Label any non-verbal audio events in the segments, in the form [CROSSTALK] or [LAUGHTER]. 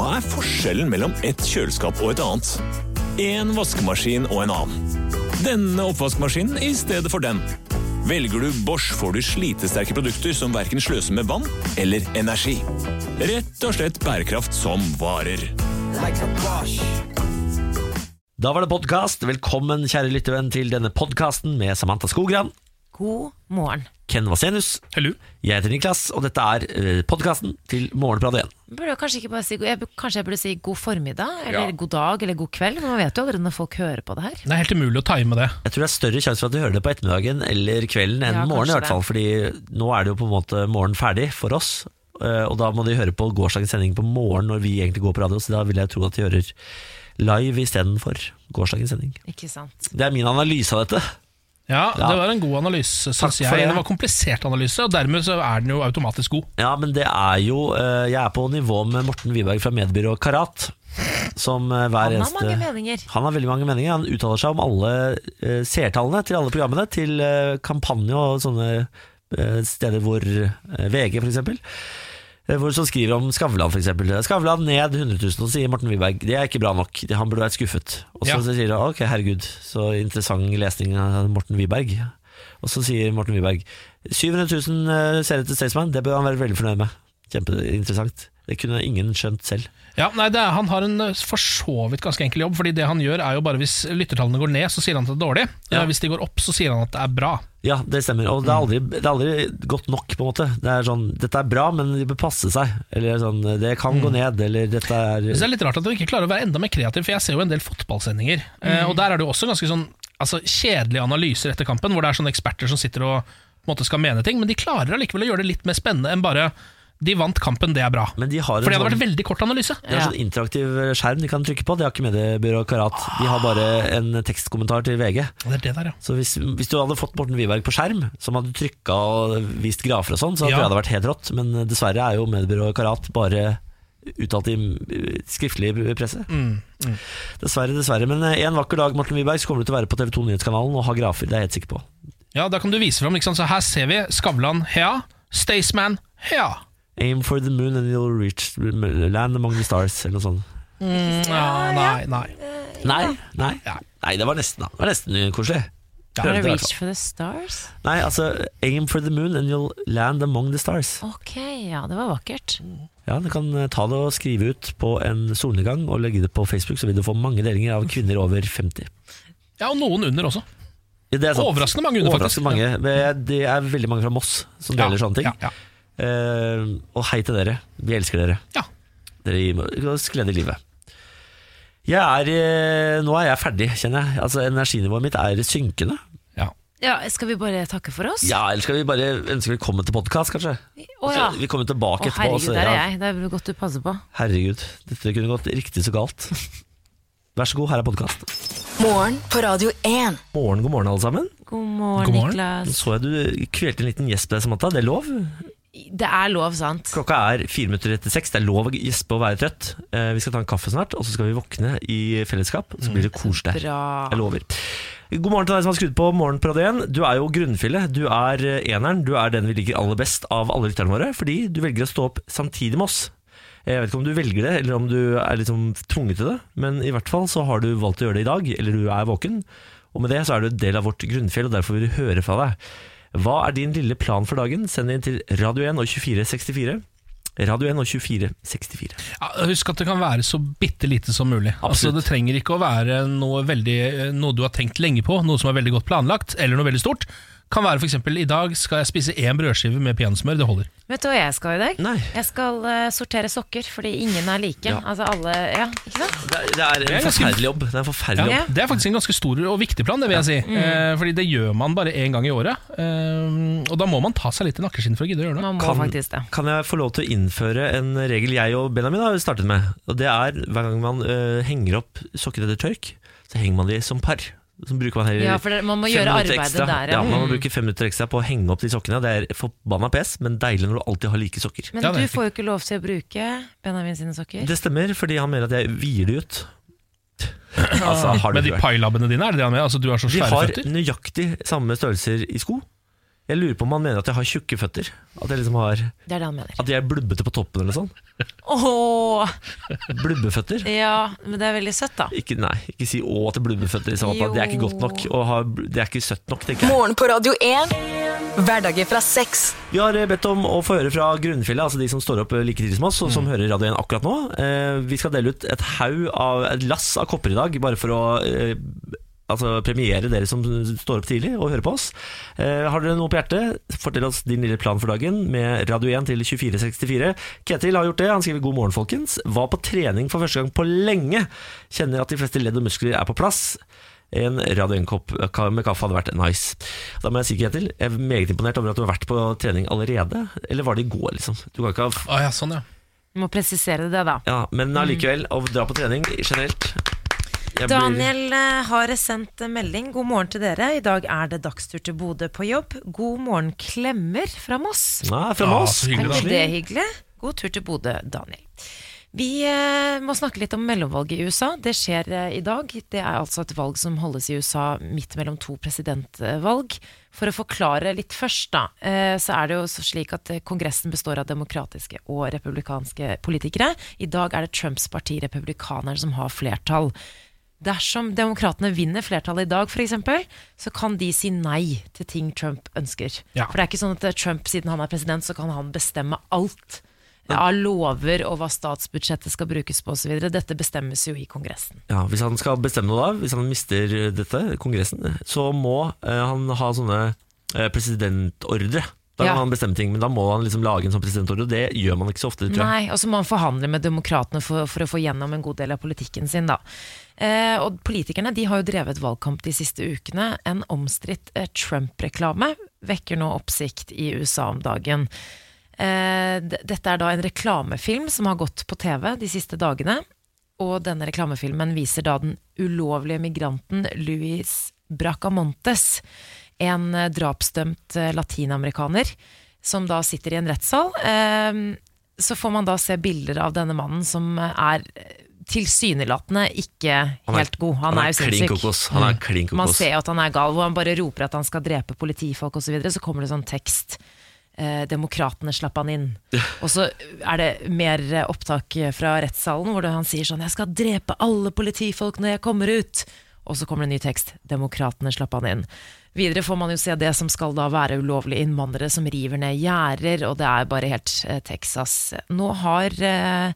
er forskjellen mellom et kjøleskap og et annet? En vaskemaskin og en annen. Denne oppvaskmaskinen i stedet for den. Velger du Bosch, får du slitesterke produkter som verken sløser med vann eller energi. Rett og slett bærekraft som varer. Da var det podkast. Velkommen, kjære lyttervenn, til denne podkasten med Samantha Skogran, God morgen. Ken Vasenius. Hello. Jeg heter Niklas, og dette er podkasten til Morgenprat 1. Burde jeg kanskje, ikke bare si, jeg, burde- kanskje jeg burde si god formiddag, eller Ja. god dag, eller god kveld. Man vet jo allerede når folk hører på det her. Det er helt umulig å time det. Jeg tror det er større sjanse for at du hører det på ettermiddagen eller kvelden enn Ja, morgen, i kanskje hvert fall. Fordi nå er det jo på en måte morgen ferdig for oss. eh, Og da må de høre på gårsdagens sending på morgen når vi egentlig går på radio, så da vil jeg tro at de hører live istedenfor gårsdagens sending. Ikke sant? Det er min analyse av dette. Ja, Ja. Det var en god analyse, Takk syns for jeg. det. Det var en komplisert analyse, og dermed så er den jo automatisk god. Ja, men det er jo eh, Jeg er på nivå med Morten Wiberg fra mediebyrå Karat. Som eh, hver Han har eneste mange meninger. Han har veldig mange meninger. Han uttaler seg om alle eh, seertallene til alle programmene, til eh, kampanje og sånne eh, steder hvor eh, VG, for eksempel. eh, Hvor som skriver om Skavlan, f.eks. Skavlan ned 100 000, og så sier Morten Wiberg det er ikke bra nok, Det- han burde vært skuffet. Og så Ja. så sier han ok, herregud, så interessant lesning av Morten Wiberg. Og så sier Morten Wiberg 700 000 eh, seere til Staysman, det bør han være veldig fornøyd med. Kjempeinteressant. Det kunne ingen skjønt selv. Ja, nei, det er, Han har en eh, for så vidt ganske enkel jobb, Fordi det han gjør er jo bare hvis lyttertallene går ned, så sier han at det er dårlig. Ja. Eh, Hvis de går opp, så sier han at det er bra. Ja, det stemmer. Og det er aldri, det er aldri godt nok, på en måte. Det er sånn Dette er bra, men de bør passe seg. Eller sånn Det kan gå ned, eller dette Mm. Så det er er litt rart at du ikke klarer å være enda mer kreativ, for jeg ser jo en del fotballsendinger. eh, Mm. Og der er det jo også ganske sånn altså, kjedelige analyser etter kampen, hvor det er sånne eksperter som sitter og på en måte skal mene ting, men de klarer allikevel å gjøre det litt mer spennende enn bare 'de vant kampen, det er bra'. Men de har en For det hadde sånn- vært veldig kort analyse. det er Ja. sånn interaktiv skjerm de kan trykke på. Det har ikke mediebyrå Karat. De har bare en tekstkommentar til VG. Og Det er det der, ja. Så hvis, hvis du hadde fått Morten Wiberg på skjerm, som hadde trykka og vist grafer og sånn, så Ja. tror jeg det hadde vært helt rått. Men dessverre er jo mediebyrå Karat bare uttalt i eh, skriftlig presse. Mm, Dessverre, dessverre. Men eh, en vakker dag, Morten Wiberg, så kommer du til å være på TV 2 Nyhetskanalen og ha grafer. Det er jeg helt sikker på. Ja, da kan du vise fram. Ikke sant? Så her ser vi Skavlan, hea. Staysman, hea. Aim for the moon and you'll reach land among the stars, eller noe sånt. Ja, Ah, nei, nei. Nei, nei, Ja. nei det var nesten, da. Det var nesten koselig. Ja. Var Prøvde i det hvert Reach for the Stars? fall. Nei, altså Aim for the moon and you'll land among the stars. Ok, ja, det var vakkert. Ja, Du kan eh, ta det og skrive ut på en solnedgang og legge det på Facebook, så vil du få mange delinger av kvinner over 50. Ja, og noen under også. Ja, Det er sant. Overraskende mange under, faktisk. Overraskende mange. Men Det er veldig mange fra Moss som deler sånne ting. Ja, ja. Eh, og hei til dere. Vi elsker dere. Ja. Dere gir oss glede i livet. Jeg er, eh, nå er jeg ferdig, kjenner jeg. Altså, energinivået mitt er synkende. ja. Ja, Skal vi bare takke for oss? Ja, Eller skal vi bare ønske velkommen til podkast, kanskje? Å ja. Så Vi kommer Å tilbake etterpå. herregud, så- der er ja. jeg. Det er godt du passer på. herregud, dette kunne gått riktig så galt. Vær så god, her er podkast. Morgen på Radio 1. Morgen, god morgen, alle sammen. God morgen, God morgen. Nå Niklas. så jeg du kvelte en liten gjesp der, Samantha. Det er lov. Det er lov, sant? Klokka er fire minutter etter seks. Det er lov å gjespe og være trøtt. Eh, vi skal ta en kaffe snart, og så skal vi våkne i fellesskap. Så blir det koselig. her. Bra. Jeg lover. God morgen til deg som har skrudd på Morgen på Radio 1. Du er jo grunnfjellet. Du er eh, eneren. Du er den vi liker aller best av alle lytterne våre, fordi du velger å stå opp samtidig med oss. Eh, Jeg vet ikke om du velger det, eller om du er liksom tvunget til det, men i hvert fall så har du valgt å gjøre det i dag, eller du er våken. Og med det så er du en del av vårt grunnfjell, og derfor vil vi høre fra deg. Hva er din lille plan for dagen? Send inn til Radio 1 og 2464. Radio 1 og 2464. Ja, Husk at det kan være så bitte lite som mulig. Altså, det trenger ikke å være noe, veldig, eh, noe du har tenkt lenge på, noe som er veldig godt planlagt, eller noe veldig stort. Kan være f.eks.: I dag skal jeg spise én brødskive med peanøttsmør. Det holder. Vet du hva jeg skal i dag? Nei. Jeg skal eh, sortere sokker, fordi ingen er like. Ja. Altså alle, ja, ikke sant? Det er, det er er en ganske- forferdelig jobb. Det er en forferdelig Ja, jobb. Ja. Det er faktisk en ganske stor og viktig plan, det vil jeg si. Eh, fordi det gjør man bare én gang i året. Eh, og da må man ta seg litt i nakkeskinnet for å gidde å gjøre det. Man må Kan, faktisk det. kan jeg få lov til å innføre en regel jeg og Benjamin har startet med? Og det er hver gang man øh, henger opp sokker etter tørk, så henger man de som par. Så bruker man heller Ja, for det- man må fem gjøre minutter arbeidet ekstra. der, ja. ja. Man må Mm. bruke fem minutter ekstra på å henge opp de sokkene. Det er forbanna pes, men deilig når du alltid har like sokker. Men Ja, det du er får jo ikke lov til å bruke Benjamin sine sokker. Det stemmer, fordi han mener at jeg vier de ut. Ah. altså, har Med du de hørt? pailabbene dine, er det det han mener? Altså, du har så De svære har føtter? nøyaktig samme størrelser i sko. Jeg lurer på om han mener at jeg har tjukke føtter. At jeg liksom har Det er det han mener. At jeg er blubbete på toppen eller sånn. Åh, Blubbeføtter? ja, men det er veldig søtt, da. Ikke, nei, ikke si å til blubbeføtter. i så fall. Det er ikke godt nok. Og har, det er ikke søtt nok, tenker jeg. Morgen på Radio 1. Hverdager fra seks. Vi har eh, bedt om å få høre fra grunnfjellet, altså de som står opp eh, like tidlig som oss, og som hører Radio 1 akkurat nå. Eh, vi skal dele ut et haug av et lass av kopper i dag, bare for å eh, altså premiere dere som står opp tidlig og hører på oss. Eh, har dere noe på hjertet, fortell oss din lille plan for dagen med Radio 1 til 2464. Ketil har gjort det, han skriver god morgen folkens. Var på trening for første gang på lenge. Kjenner at de fleste ledd og muskler er på plass. En Radio 1-kopp med kaffe hadde vært nice. Da må jeg si, Ketil, jeg er meget imponert over at du har vært på trening allerede. Eller var det i går, liksom? Du kan ikke ha Ah, Å ja, sånn, ja. Du må presisere det, da. Ja, men allikevel, å dra på trening generelt jeg blir- Daniel eh, har sendt en melding. God morgen til dere. I dag er det dagstur til Bodø på jobb. God morgen, klemmer fra Moss. Nei, fra Ja, Moss. så hyggelig, Er da. ikke det hyggelig? God tur til Bodø, Daniel. Vi eh, må snakke litt om mellomvalget i USA. Det skjer eh, i dag. Det er altså et valg som holdes i USA midt mellom to presidentvalg. For å forklare litt først, da, eh, så er det jo så slik at eh, Kongressen består av demokratiske og republikanske politikere. I dag er det Trumps parti, republikanerne, som har flertall. Dersom demokratene vinner flertallet i dag, f.eks., så kan de si nei til ting Trump ønsker. Ja. For det er ikke sånn at eh, Trump, siden han er president, så kan han bestemme alt av lover og hva statsbudsjettet skal brukes på osv. Dette bestemmes jo i Kongressen. Ja, hvis han skal bestemme noe da, hvis han mister eh, dette, kongressen, så må eh, han ha sånne eh, presidentordre. Da Ja. kan han bestemme ting, men da må han liksom lage en sånn presidentordre, og det gjør man ikke så ofte, tror jeg. Nei, og så må han forhandle med demokratene for, for å få gjennom en god del av politikken sin, da. Eh, og politikerne de har jo drevet valgkamp de siste ukene. En omstridt eh, Trump-reklame vekker nå oppsikt i USA om dagen. Eh, d- dette er da en reklamefilm som har gått på TV de siste dagene. Og denne reklamefilmen viser da den ulovlige migranten Luis Bracamontes, en eh, drapsdømt eh, latinamerikaner, som da sitter i en rettssal. Eh, Så får man da se bilder av denne mannen som eh, er eh, tilsynelatende ikke Han er- helt god. Han, er jo klin sinnssyk. Mm. kokos. Han er klin kokos. Man ser jo at han er gal, hvor han bare roper at han skal drepe politifolk osv. Så, videre, så kommer det sånn tekst. Eh, demokratene slapp han inn. Og så er det mer eh, opptak fra rettssalen hvor det- han sier sånn 'Jeg skal drepe alle politifolk når jeg kommer ut'. Og så kommer det en ny tekst. 'Demokratene slapp han inn'. Videre får man jo se det som skal da være ulovlige innvandrere som river ned gjerder, og det er bare helt eh, Texas. Nå har eh,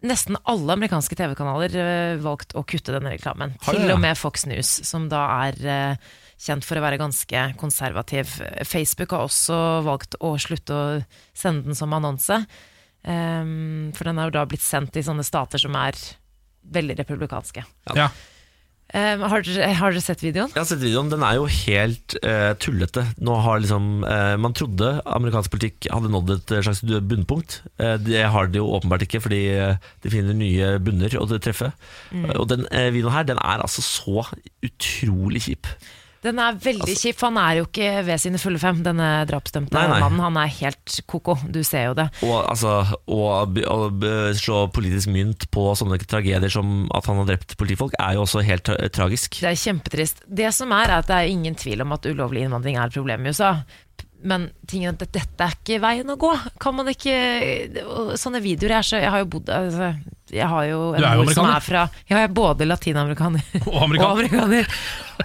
nesten alle amerikanske TV-kanaler eh, valgt å kutte denne reklamen. Har de Til det? og med Fox News, som da er eh, kjent for å være ganske konservativ. Facebook har også valgt å slutte å sende den som annonse. ehm, for den er jo da blitt sendt i sånne stater som er veldig republikanske. ja. Ehm, har, dere, har dere sett videoen? Jeg har sett videoen, den er jo helt eh, tullete. Nå har liksom, eh, Man trodde amerikansk politikk hadde nådd et eh, slags bunnpunkt. Eh, det har det jo åpenbart ikke, fordi eh, de finner nye bunner å treffe. Mm. Eh, og den eh, videoen her, den er altså så utrolig kjip. Den er veldig Altså- kjip. for Han er jo ikke ved sine fulle fem, denne drapsdømte Nei, nei. mannen. Han er helt koko, du ser jo det. Og altså, å b- å b- slå politisk mynt på sånne tragedier som at han har drept politifolk, er jo også helt tra tragisk. Det er kjempetrist. Det som er, er at det er ingen tvil om at ulovlig innvandring er et problem i USA. Men tingen er at dette er ikke veien å gå. Kan man ikke og Sånne videoer er så Jeg har jo bodd altså, Jeg har jo en Du er jo mor som amerikaner. er fra Ja, jeg er både latinamerikaner Og amerikaner. [LAUGHS] og amerikaner.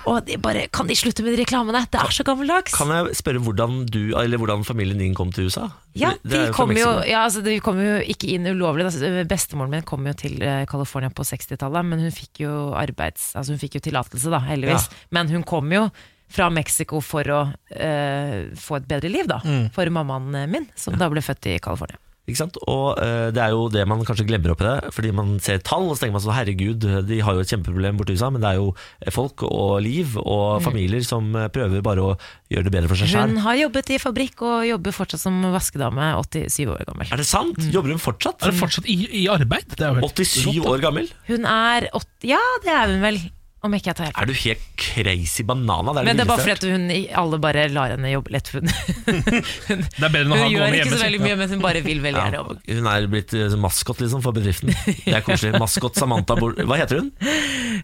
Og de bare Kan de slutte med de reklamene? Det er så gammeldags. Kan jeg spørre hvordan du, eller hvordan familien din kom til USA? Ja, Det- det er vi jo fra kom, jo, Mexico. ja altså, vi kom jo ikke inn ulovlig. da. Altså, Bestemoren min kom jo til eh, California på 60-tallet, men hun fikk jo arbeids... Altså hun fikk jo tillatelse, da, heldigvis. Men hun kom jo fra Mexico for å eh, få et bedre liv, da. Mm. For mammaen eh, min, som da ble født i California. Ikke sant? Og eh, det er jo det man kanskje glemmer oppi det, fordi man ser tall og så tenker man sånn herregud, de har jo et kjempeproblem borti USA, men det er jo eh, folk og liv og familier som eh, prøver bare å gjøre det bedre for seg Hun sjøl. har jobbet i fabrikk og jobber fortsatt som vaskedame, 87 år gammel. Er det sant? Mm. Jobber hun fortsatt? Er det fortsatt i, i arbeid? Det er jo helt 87 rått, da. år gammel? Hun er 80 Ja, det er hun vel, om ikke jeg tar helt Er du helt crazy banana? Det er Men det er bare villeste fordi jeg at hun alle bare lar henne jobbe litt. for Hun, hun, Det er bedre enn å [LAUGHS] hun ha gjør gående ikke hjemme, så sikkert, veldig mye, men hun bare vil veldig har hørt. gjerne ja, jobbe. hun er blitt eh, maskot liksom for bedriften. Det er koselig. Maskot Samantha Bor... Hva heter hun?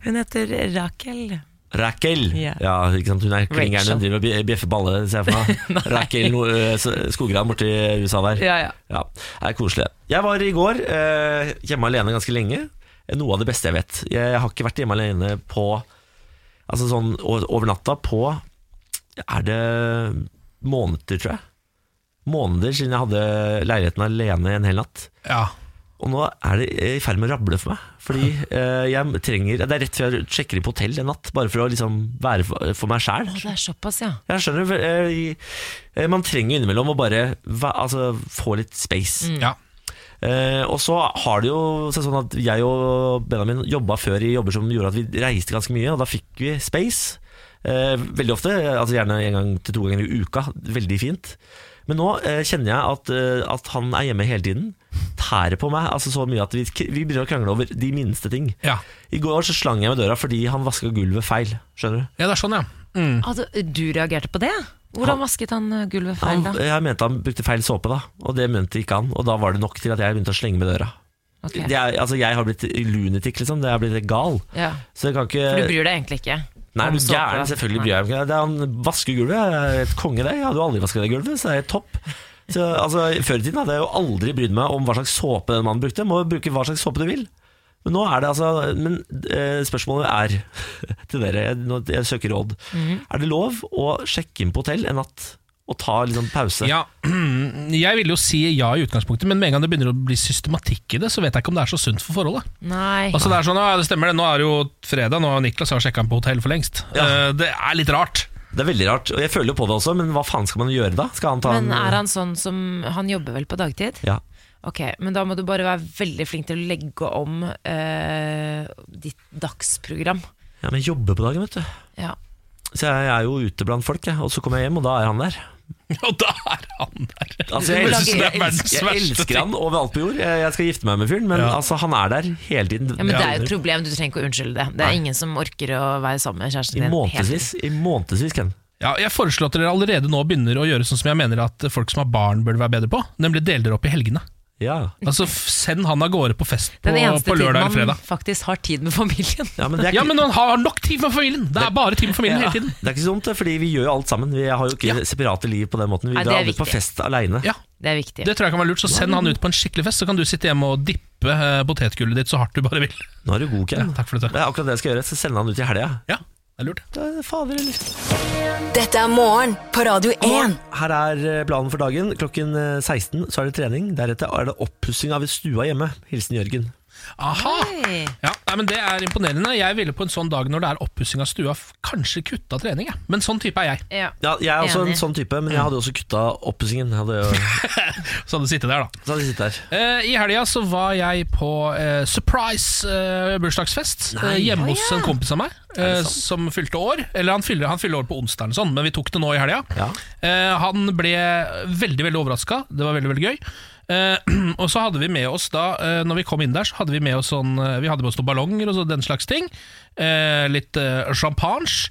Hun heter Rakel. Rakel. Ja. Ja, ikke sant? Hun er klingeren Rachel. hun driver og bje- bjeffer på alle, ser jeg for [LAUGHS] meg. Rakel no, eh, S- Skogran borti USA der. Ja, ja. Det er koselig. Jeg var i går eh, hjemme alene ganske lenge. Noe av det beste jeg vet. Jeg har ikke vært hjemme alene på Altså sånn o- over natta på Er det måneder, tror jeg. Måneder siden jeg hadde leiligheten alene en hel natt. Ja. Og nå er det eh, i ferd med å rable for meg. Fordi eh, jeg trenger Det er rett før jeg sjekker inn på hotell en natt, bare for å liksom være for, for meg sjæl. Å, det er såpass, ja. Jeg skjønner eh, eh, Man trenger innimellom å bare væ- altså, få litt space. Mm. ja. Eh, og så har det jo seg sånn at jeg og Benjamin jobba før i jobber som gjorde at vi reiste ganske mye, og da fikk vi space. Eh, veldig ofte, eh, altså gjerne en gang til to ganger i uka. Veldig fint. Men nå eh, kjenner jeg at, eh, at han er hjemme hele tiden. Tærer på meg altså så mye at vi, vi begynner å krangle over de minste ting. Ja. I går så slang jeg med døra fordi han vaska gulvet feil. Skjønner du? ja, det er sånn, ja. Mm. Altså, du reagerte på det? Hvordan vasket han ø, gulvet feil, Han, da? jeg mente han brukte feil såpe, da og det mente ikke han. Og da var det nok til at jeg begynte å slenge med døra. Ok. Det er, altså, jeg har blitt lunatic, liksom. Jeg har blitt gal. Ja. Så jeg kan ikke For du bryr deg egentlig ikke? Eh, Nei, om du såpe? gæren, selvfølgelig bryr jeg meg ikke. Det er Han vasker gulvet, jeg er et konge det. Jeg hadde jo aldri vasket det gulvet, så det er topp. Så, altså, før i tiden hadde jeg jo aldri brydd meg om hva slags såpe den mannen brukte. Må jo bruke hva slags såpe du vil. Men nå er det altså Men eh, spørsmålet er [LAUGHS] til dere, jeg, nå, jeg søker råd. Er det lov å sjekke inn på hotell en natt og ta liksom pause? ja. Mm, Jeg ville jo si ja i utgangspunktet, men med en gang det begynner å bli systematikk i det, så vet jeg ikke om det er så sunt for forholdet. Nei. Altså det er sånn, ja, det stemmer det, nå er det jo fredag, nå har Niklas har sjekka inn på hotell for lengst. Ja. Eh, Det er litt rart. [LAUGHS] Det er veldig rart. Og jeg føler jo på det også, men hva faen skal man gjøre da? Skal han ta Men en er han sånn som Han jobber vel på dagtid? Ja. Ok, men da må du bare være veldig flink til å legge om eh, ditt dagsprogram. ja, men jobbe på dagen, vet du. Ja. Så jeg er jo ute blant folk, jeg. Og så kommer jeg hjem, og da er han der. Og da er han der. Altså, Du jeg, må lage- elsker, det er jeg verdens jeg verste elsker ting. han overalt på jord. Jeg jeg skal gifte meg med fyren, men Ja. altså, han er der hele tiden. ja, Men det er jo et problem, du trenger ikke å unnskylde det. Det er ingen som orker å være sammen med kjæresten I din. månedsvis. I månedsvis, Ken. Ja, jeg foreslår at dere allerede nå begynner å gjøre sånn som jeg mener at folk som har barn bør være bedre på, nemlig dele dere opp i helgene. Ja. Altså f- Send han av gårde på fest på, Den eneste på lørdag eller tiden man fredag. faktisk har tid med familien. ja, men det er, ikke, Ja, men han har nok tid med familien! Det er bare tid med familien hele tiden. det er ikke så dumt, det, fordi vi gjør jo alt sammen. Vi har jo ikke Ja. separate liv på den måten. Vi Nei, det drar er aldri på viktig. fest aleine. Ja, Det er viktig. Det tror jeg kan være lurt, så send han ut på en skikkelig fest, så kan du sitte hjemme og dippe eh, potetgullet ditt så hardt du bare vil. Nå er du god, Ken. Takk for Det dette. er akkurat det jeg skal gjøre. Så sender han ut i helga. Ja, det er lurt. Da- Fader, eller? Dette er morgen på Radio 1. Her er eh, planen for dagen. Klokken eh, 16 så er det trening. Deretter er det oppussing av stua hjemme. Hilsen Jørgen. Aha! Oi. Ja, nei, men Det er imponerende. Jeg ville på en sånn dag når det er oppussing av stua, f- kanskje kutta trening. Jeg. Men sånn type er jeg. Ja. Ja, jeg er også Enig. Mm. en sånn type, men jeg hadde også kutta oppussingen. Jeg hadde jo- Så hadde du sittet der, da. Så hadde jeg sittet her. Eh, I helga så var jeg på eh, surprise eh, bursdagsfest eh, hjemme hos en kompis av meg eh, som fylte år. Eller han fyller, han fyller år på onsdag, eller sånn, men vi tok det nå i helga. Ja. Eh, han ble veldig veldig overraska. Det var veldig veldig gøy. Eh, [CLEARS THROAT] og så hadde vi med oss da eh, Når vi kom inn der, så hadde vi med oss sånn eh, Vi hadde med oss noen ballonger og så den slags ting. Eh, litt eh, champagne.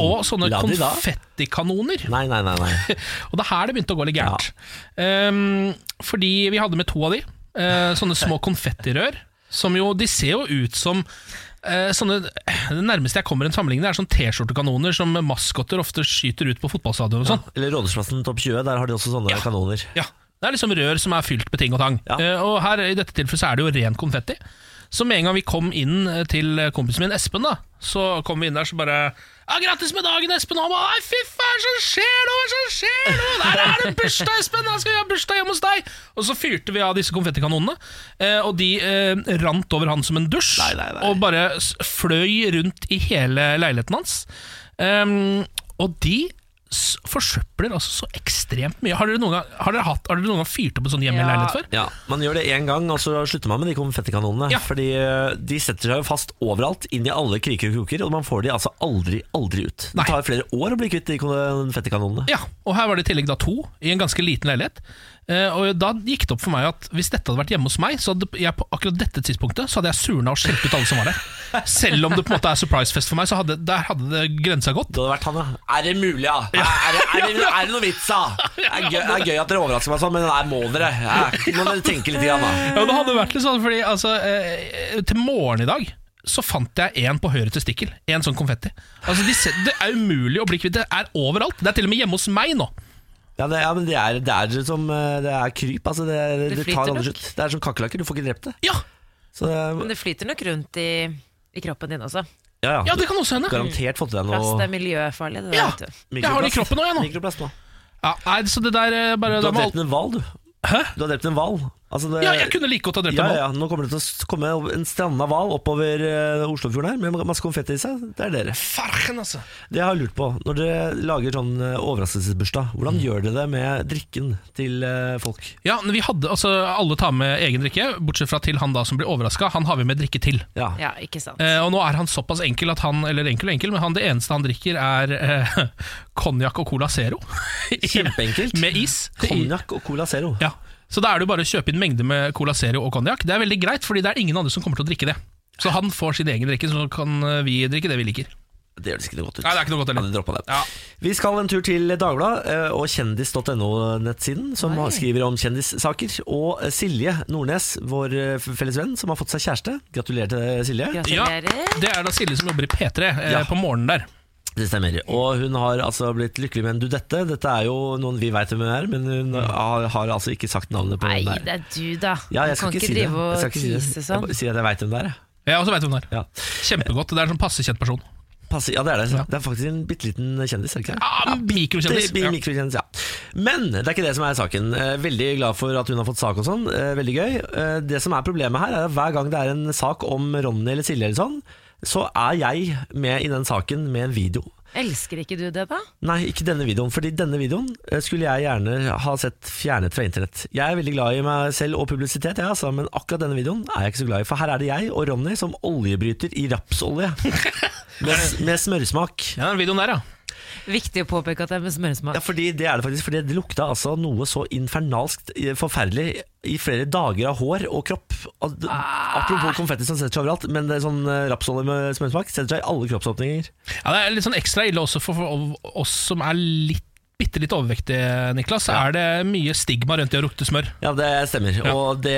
og sånne Oh. la de da? konfettikanoner. Nei, nei, nei. nei. Og det er her det begynte å gå litt gærent. Ehm, fordi vi hadde med to av de. eh, sånne små konfettirør. Som jo, De ser jo ut som eh, sånne, Det nærmeste jeg kommer en sammenligning, det er sånn T-skjortekanoner som maskotter ofte skyter ut på fotballstadion. og sånn Eller Rådhusplassen topp 20, der har de også sånne kanoner. ja. Det er liksom rør som er fylt med ting og tang. Ja. Eh, og her i dette tilfellet så er det jo ren konfetti. Så med en gang vi kom inn eh, til kompisen min Espen, da så kom vi inn der så bare ja, 'Grattis med dagen, Espen!' Og han bare 'Nei, fy faen, så skjer det, hva som skjer nå?' 'Der er det bursdag, Espen! Da skal vi ha bursdag hjemme hos deg!' Og så fyrte vi av disse konfettikanonene, eh, og de eh, rant over han som en dusj. Nei, nei, nei. Og bare s- fløy rundt i hele leiligheten hans. Ehm, og de s- forsøpler altså så ekstremt mye. Har dere noen gang, har dere hatt, har dere noen gang fyrt opp en sånn hjemme i Ja. leilighet før? Ja, Man gjør det én gang, og så slutter man med de konfettikanonene. Ja. Fordi eh, de setter seg jo fast overalt, inn i alle kriker og kroker, og man får de altså aldri, aldri ut. Nei. Det tar flere år å bli kvitt de konfettikanonene. Ja, og her var det i tillegg da to i en ganske liten leilighet. Eh, og da gikk det opp for meg at hvis dette hadde vært hjemme hos meg, så hadde jeg på akkurat dette tidspunktet Så hadde jeg surna og skjelt ut alle som var der. Selv om det på en måte er surprise-fest for meg, så hadde, der hadde det grensa gått. Det hadde vært han, ja. Er det mulig, ja? Er, det- er det, er det noe vits, da? Det er, gøy, det er gøy at dere overrasker meg sånn, men nei, må dere? Ja, Må dere tenke litt, grann, da. Ja, det hadde vært litt sånn, fordi altså, eh, til morgen i dag så fant jeg en på høyre testikkel. En sånn konfetti. Altså, de ser, Det er umulig å bli kvitt. Det er overalt. Det er til og med hjemme hos meg nå. Ja, det, ja, men det er, det er som eh, Det er kryp. Altså det, det, Det tar flyter aldri nok. slutt. Det er som kakerlakker, du får ikke drept det. Ja, Så eh, det, Men det flyter nok rundt i, i kroppen din også. ja, ja ja. det kan også hende. Garantert fått i deg Plast noe er miljøfarlig. Det der, Ja, vet du. jeg har det i kroppen nå, jeg nå. Mikroplast nå. Ja, nei, så det der eh, bare, Du har da må drept en hval, du. Hæ? Du har drept en hval. Altså det, Ja, jeg kunne like godt ha drept ja, en hval. ja, Nå kommer det til å s- komme en stranda hval oppover eh, Oslofjorden her med masse konfetti i seg. Det er dere. Farken, altså. Det jeg har lurt på, når dere lager sånn eh, overraskelsesbursdag, hvordan gjør dere det med drikken til eh, folk? Ja, men vi hadde, altså Alle tar med egen drikke, bortsett fra til han da som blir overraska. Han har vi med drikke til. Ja. Ja, ikke sant. Eh, og nå er han såpass enkel at han Eller enkel og enkel, men han, det eneste han drikker, er eh, [LAUGHS] konjakk og Cola Zero. [LAUGHS] Kjempeenkelt. med is. Konjakk og Cola Zero. Ja. Så da er det jo bare å kjøpe inn mengder med Cola Zero og konjakk. Det er veldig greit, fordi det er ingen andre som kommer til å drikke det. Så han får sin egen drikke, så kan eh, vi drikke det vi liker. Det høres ikke noe godt ut. Nei, det er ikke noe godt heller. Ja, det droppa det. Ja. Vi skal en tur til Dagbladet eh, og kjendis.no-nettsiden, som Oi. skriver om kjendissaker. Og eh, Silje Nordnes, vår eh, f- felles venn, som har fått seg kjæreste. Gratulerer til Silje. Ja, Gratulerer. det er da Silje som jobber i P3 eh, Ja. på morgenen der. Det stemmer. Og hun har altså blitt lykkelig med en dudette. Dette er jo noen vi veit hvem hun er, men hun har, har altså ikke sagt navnet på Mm. Nei, hvem det er. det er du, da. Ja, jeg du skal kan ikke ikke si det. drive Jeg skal og ikke si det. tise Jeg sånn. bare sier at jeg veit hvem det er, jeg. Jeg også vet hvem hun er. Ja. Kjempegodt. Det er en sånn passe kjent person. Passe, ja, det er det. Ja. Det er faktisk en bitte liten kjendis. er det Ikke? det? Ja, Mikrokjendis. Det blir mikrokjendis, ja. Men det er ikke det som er saken. Eh, Veldig glad for at hun har fått sak og sånn. Eh, Veldig gøy. Eh, Det som er problemet her, er at hver gang det er en sak om Ronny eller Silje eller sånn, så er jeg med i den saken med en video. Elsker ikke du det, da? Nei, ikke denne videoen, fordi denne videoen eh, skulle jeg gjerne ha sett fjernet fra internett. Jeg er veldig glad i meg selv og publisitet, jeg, altså, men akkurat denne videoen er jeg ikke så glad i. For her er det jeg og Ronny som oljebryter i rapsolje. med, med smørsmak. Ja, den videoen der, ja. Viktig å påpeke at det er med smørsmak. Ja, fordi det er det faktisk, fordi det lukta altså noe så infernalskt eh, forferdelig i flere dager av hår og kropp. At- Ah. Apropos konfetti som setter seg overalt, men det er sånn eh, rapsolje med smørsmak setter seg i alle kroppsåpninger. ja. Det er litt sånn ekstra ille også for, for oss som er litt bitte litt overvektige, Niklas. Så er det mye stigma rundt det å lukte smør. Ja, det stemmer. Og det,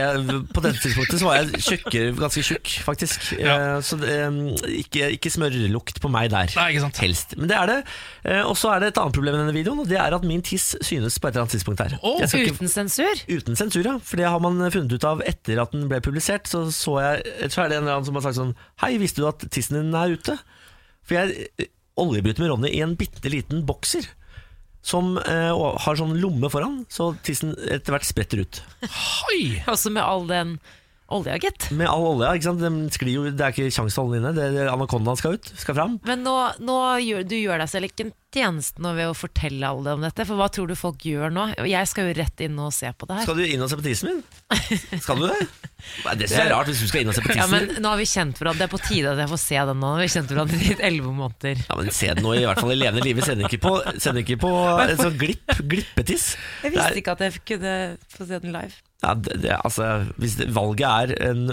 på dette tidspunktet så var jeg tjukkere, ganske tjukk, faktisk. Ja. Eh, Så det, eh, ikke, ikke smørlukt på meg der. Nei, ikke sant? Helst. Men det er det. Eh, Og så er det et annet problem i denne videoen, og det er at min tiss synes på et eller annet tidspunkt her. Å, Jeg skal ikke- Uten sensur? Uten sensur, ja. For det har man funnet ut av etter at den ble publisert. Så, så jeg så er det en eller annen som har sagt sånn Hei, visste du at tissen din er ute? For jeg eh, oljebryter med Ronny i en bitte liten bokser. Som eh, og har sånn lomme foran, så tissen etter hvert spretter ut. Oi! Også med all den olja, gitt. Med all olja, ikke sant. Den sklir jo, det er ikke kjangs til å holde den inne. Det, det, anakondaen skal ut, skal fram. Men nå, nå gjør, du gjør deg selv ikke en tjeneste nå ved å fortelle alle om dette, for hva tror du folk gjør nå? Jeg skal jo rett inn og se på det her. Skal du inn og se på tissen min? Skal du det? Nei, det synes jeg er rart hvis du skal inn og se på [LAUGHS] Ja, tissen men min. nå har vi kjent hverandre, det er på tide at jeg får se den nå. Vi har kjent hverandre i elleve måneder. Ja, men Se den nå, i hvert fall i levende live. Send ikke på, send ikke [LAUGHS] på en sånn glipp, glippetiss. Jeg Det er- visste ikke at jeg kunne få se den live. Ja, det, det, altså, hvis det, valget er en,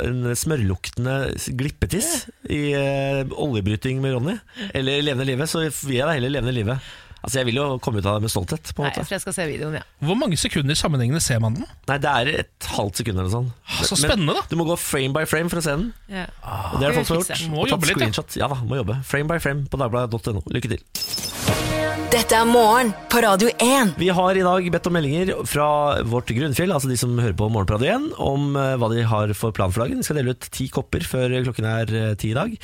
en smørluktende glippetiss i eh, oljebryting med Ronny, eller levende livet, så vil jeg da heller levende livet. Altså, jeg vil jo komme ut av det med stolthet, på en Nei, måte. jeg tror jeg skal se videoen, ja. Hvor mange sekunder sammenhengende ser man den? Ah, Nei, det er et halvt sekund eller noe sånt. Så Men- spennende, da! Du må gå frame by frame for å se den. ja. Ah, Og det er det folk som har Fikse. gjort. Må Og tatt jobbe litt, ja. screenshot. Ja da, må jobbe. Frame by frame på dagbladet.no. Lykke til. Dette er morgen på Radio 1. Vi har i dag bedt om meldinger fra vårt grunnfjell, altså de som hører på Morgenpratet igjen, om eh, hva de har for plan for dagen. Vi skal dele ut ti kopper før klokken er eh, ti i dag.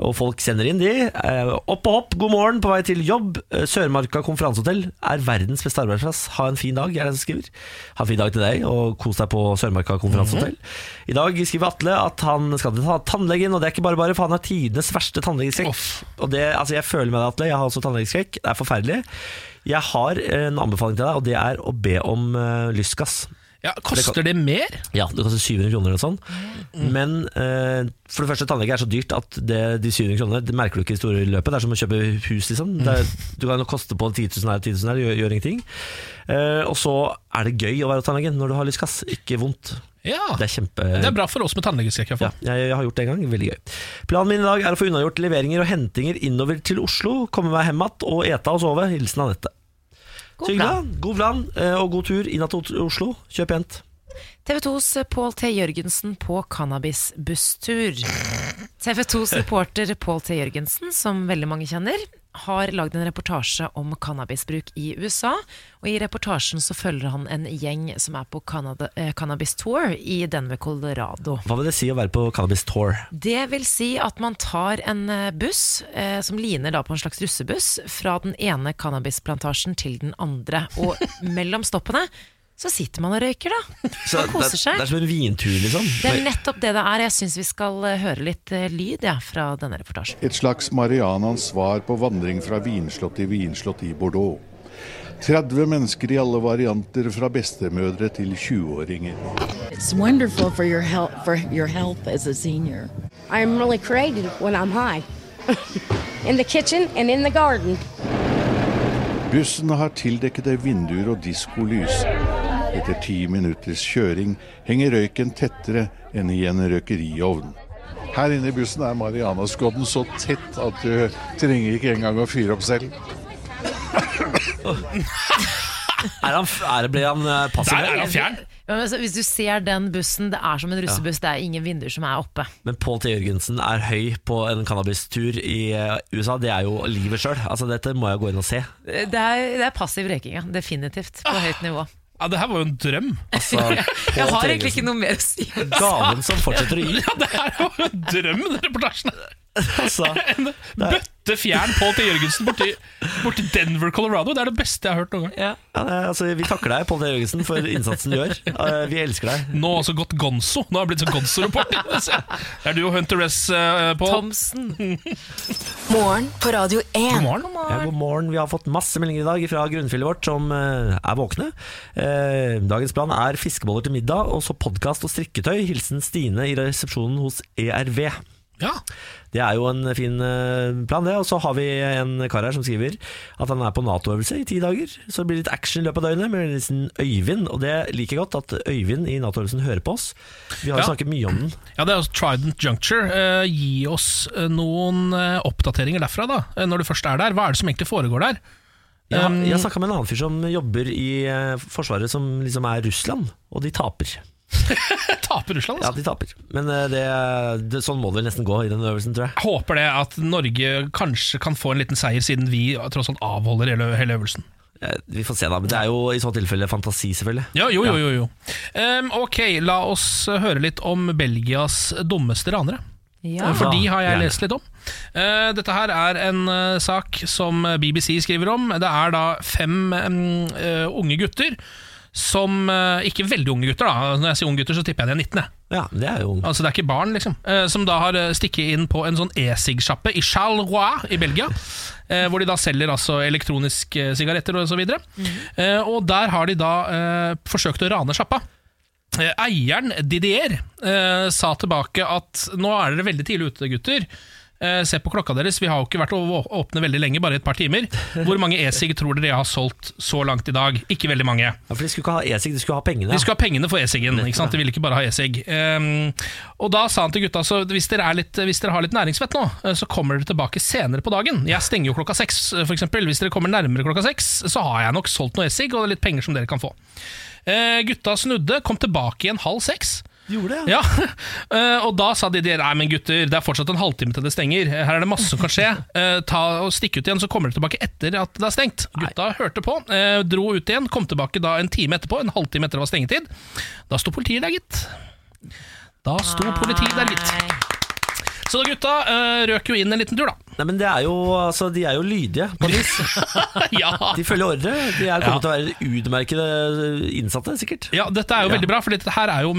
Og folk sender inn de. Eh, Opp og opp, god morgen, på vei til jobb. Eh, Sørmarka konferansehotell er verdens beste arbeidsplass. Ha en fin dag, er det som skriver. Ha en fin dag til deg, og kos deg på Sørmarka konferansehotell. I dag skriver Atle at han skal til ta- tannlegen, og det er ikke bare bare, for han har tidenes verste tannlegeskrekk. Uff. Og det, altså jeg føler med deg, Atle. Jeg har også tannlegeskrekk. Det er forferdelig. Jeg har eh, en anbefaling til deg, og det er å be om eh, lystgass. Ja, Koster det mer? Ja, det koster 700 kroner eller sånn. Mm. Men eh, for det første, tannlege er så dyrt at det, de 700 kronene det merker du ikke i store løpet. Det er som å kjøpe hus, liksom. Det er, Mm. du kan jo koste på 10 000 her og 10 000 her, det gjør, gjør ingenting. Eh, og så er det gøy å være tannlegen når du har lystgass, ikke vondt. Ja. Det er kjempe... Det er bra for oss med tannlegeskrekk, iallfall. Ja, jeg, jeg har gjort det en gang, veldig gøy. Planen min i dag er å få unnagjort leveringer og hentinger innover til Oslo, komme meg hjem igjen og ete og sove. Hilsen Anette. Så God hyggelig, plan. da. God plan eh, og god tur inn til Oslo. Kjøp jent. TV 2s Pål T. Jørgensen på cannabisbusstur. TV 2s reporter Pål T. Jørgensen, som veldig mange kjenner, har lagd en reportasje om cannabisbruk i USA. Og I reportasjen så følger han en gjeng som er på Canada, eh, cannabis tour i Denver, Colorado. Hva vil det si å være på Cannabis Tour? Det vil si at man tar en eh, buss eh, som ligner da på en slags russebuss fra den ene cannabisplantasjen til den andre. [LAUGHS] Og mellom stoppene så sitter man og røyker, da. Så Man koser Det, seg. det er som en vintur, liksom. Det er nettopp det det er. Jeg syns vi skal eh, høre litt eh, lyd ja, fra denne reportasjen. Et slags Marianas svar på vandring fra vinslott til vinslott i Bordeaux. 30 mennesker i alle varianter, fra bestemødre til 20-åringer. It's wonderful for your help for your health as a senior. I'm really creative when I'm high. in the kitchen and in the garden. Bussen har tildekkede vinduer og diskolys. Etter ti minutters kjøring henger røyken tettere enn i en røkeriovn. Her inne i bussen er Marianaskodden så tett at du trenger ikke engang å fyre opp selv. Er han, f- er, ble han eh, passiv? Der er han fjern! Ja, men altså, hvis du ser den bussen, det er som en russebuss. Det er ingen vinduer som er oppe. Men Pål T. Jørgensen er høy på en cannabistur i eh, USA. Det er jo livet sjøl. Altså, dette må jeg gå inn og se. Det er, det er passiv røyking, ja. Definitivt. Ah, På høyt nivå. Ja, Det her var jo en drøm. [LAUGHS] Altså, Pål [LAUGHS] Jeg T. har egentlig ikke Jørgensen. noe mer å si. Gaven som [LAUGHS] fortsetter å gi. Ja, Det her var jo en drøm, den reportasjen. her. Altså, En bøtte fjern Pål T. Jørgensen borti, borti Denver, Colorado. Det er det beste jeg har hørt noen gang. ja, det er- altså, vi takker deg, Pål T. Jørgensen, for innsatsen du gjør. Eh, Vi elsker deg. Nå også gått gonzo. Nå har jeg blitt så [LAUGHS] gonzo-reporter. Det er du og Hunter S, eh, Pål. Thomsen. Morgen på Radio 1. morgen. Ja, god morgen. Vi har fått masse meldinger i dag fra grunnfjellet vårt, som eh, er våkne. Eh, Dagens plan er fiskeboller til middag, og så podkast og strikketøy. Hilsen Stine i resepsjonen hos ERV. Ja. Det er jo en fin eh, plan, det. Og så har vi en kar her som skriver at han er på Nato-øvelse i ti dager. Så det blir litt action i løpet av døgnet med liksom Øyvind. Og det liker jeg godt, at Øyvind i Nato-øvelsen hører på oss. Vi har jo Ja. snakket mye om den. Ja, det er også Trident Juncture. Eh, gi oss eh, noen eh, oppdateringer derfra, da. eh, Når du først er der. Hva er det som egentlig foregår der? Jeg, har- jeg snakka med en annen fyr som jobber i eh, Forsvaret, som liksom er Russland, og de taper. [LAUGHS] Jeg taper Russland, Ja, altså. de taper. Men eh, det, det, sånn må det vel nesten gå i den øvelsen, tror jeg. Jeg håper det at Norge kanskje kan få en liten seier, siden vi tross alt avholder hele, hele øvelsen. Eh, Vi får se, da. Men det er jo i så tilfelle fantasi, selvfølgelig. Ja, jo, jo, jo, jo. Em, ok, la oss eh, høre litt om Belgias dummeste ranere. Ja. For de har jeg gjerne. lest litt om. Eh, dette her er en eh, sak som BBC skriver om. Det er da fem em, eh, unge gutter som eh, Ikke veldig unge gutter, da. Når jeg sier unge gutter, så tipper jeg de er 19. Jeg. Ja, det er jo Altså det er ikke barn, liksom. Eh, som da har eh, stikket inn på en sånn e-sig-sjappe i Charleroi i Belgia. Eh, hvor de da selger altså elektroniske eh, sigaretter og så videre. Eh, og der har de da eh, forsøkt å rane sjappa. Eh, eieren, Didier, eh, sa tilbake at nå er dere veldig tidlig ute, gutter. Eh, se på klokka deres, vi har jo ikke vært å å- åpne veldig lenge, bare et par timer. Hvor mange e-sig tror dere jeg har solgt så langt i dag? Ikke veldig mange. ja, For de skulle ikke ha e-sig, de skulle ha pengene. De skulle ha pengene for e-siggen. ikke sant? De ville ikke bare ha e-sigg. Ehm, og da sa han til gutta så hvis dere, er litt, hvis dere har litt næringsvett nå, eh, så kommer dere tilbake senere på dagen. Jeg stenger jo klokka seks, eh, for eksempel. Hvis dere kommer nærmere klokka seks, så har jeg nok solgt noe e-sigg, og det er litt penger som dere kan få. Eh, gutta snudde, kom tilbake igjen halv seks. De gjorde det, ja. Ja, [LAUGHS] eh, og da sa de der, Nei, men gutter, det er fortsatt en halvtime til det stenger Her er det masse som kan skje Eh, Ta og Stikk ut igjen, så kommer dere tilbake etter at det er stengt Gutta hørte på, eh, dro ut igjen Kom tilbake da en time etterpå En halvtime etter det var stengetid Da sto politiet der, gitt Da sto politiet der, gitt Nei. Så da gutta eh, røk jo inn en liten tur da Nei, men det er jo, altså, de er jo lydige. på en vis. [LAUGHS] Ja De følger ordre. De er Ja. kommet til å være utmerkede eh, innsatte, sikkert. Ja, dette er jo Ja. veldig bra, for dette her er jo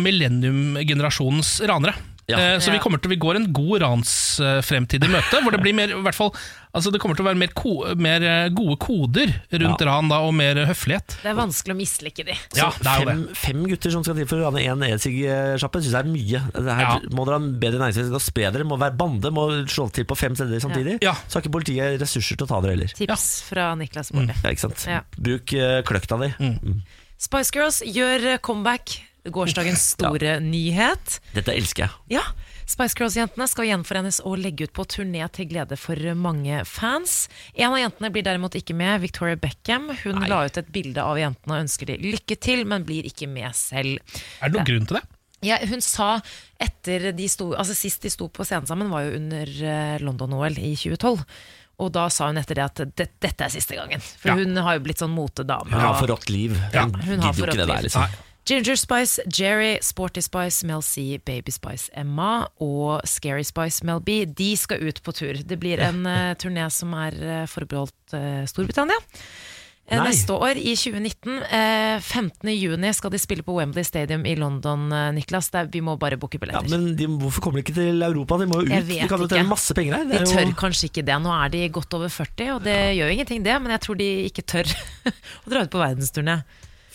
millennium-generasjonens ranere. Ja. Eh, så vi, Ja. kommer til, vi går en god ransfremtid i møte, hvor det blir mer, i hvert fall, altså det kommer til å være mer, ko, mer eh, gode koder rundt ran da, og mer eh, høflighet. Det er vanskelig å mislike de. Ja, det er jo det. Fem, fem gutter som skal til for å rane én e-sig-sjappe, syns jeg er mye. Det her Ja. Må dere ha en bedre næringsvirksomhet, spre dere, må være bande, må slå til på fem steder samtidig. Ja. Så har ikke politiet ressurser til å ta dere heller. Tips fra Niklas Baarli. Ja, ikke sant? Ja. Bruk eh, kløkta di. Mm. Spice Girls gjør eh, comeback. Gårsdagens store nyhet. Dette elsker jeg. Ja, Spice Girls-jentene skal gjenforenes og legge ut på turné til glede for mange fans. En av jentene blir derimot ikke med, Victoria Beckham. Hun la ut et bilde av jentene og ønsker de lykke til, men blir ikke med selv. Er det noen grunn til det? Ja, hun sa etter de sto, altså Sist de sto på scenen sammen, var jo under eh, London-OL i 2012. Og da sa hun etter det at det, dette er siste gangen. For Ja. hun har jo blitt sånn motedame. Hun har og- for rått liv. Ja, Hun hun gidder har jo for ikke det rått der, liv. liksom. Nei. Ginger Spice, Jerry, Sporty Spice, Mel C, Baby Spice, Emma og Scary Spice, Mel B. De skal ut på tur. Det [LAUGHS] blir en eh, turné som er eh, forbeholdt eh, Storbritannia. Eh, Nei. Neste år, i 2019. Eh, 15. juni skal de spille på Wembley Stadium i London, eh, Niklas. Der vi må bare booke Ja, billetter. men de, hvorfor kommer de ikke til Europa? De må jo ut. Jeg De vet kan jo ikke. tjene masse penger her. Det De er tør jo, kanskje ikke det. Nå er de godt over 40, og det gjør jo ingenting, det. Men jeg tror de ikke tør [LAUGHS] å dra ut på verdensturné.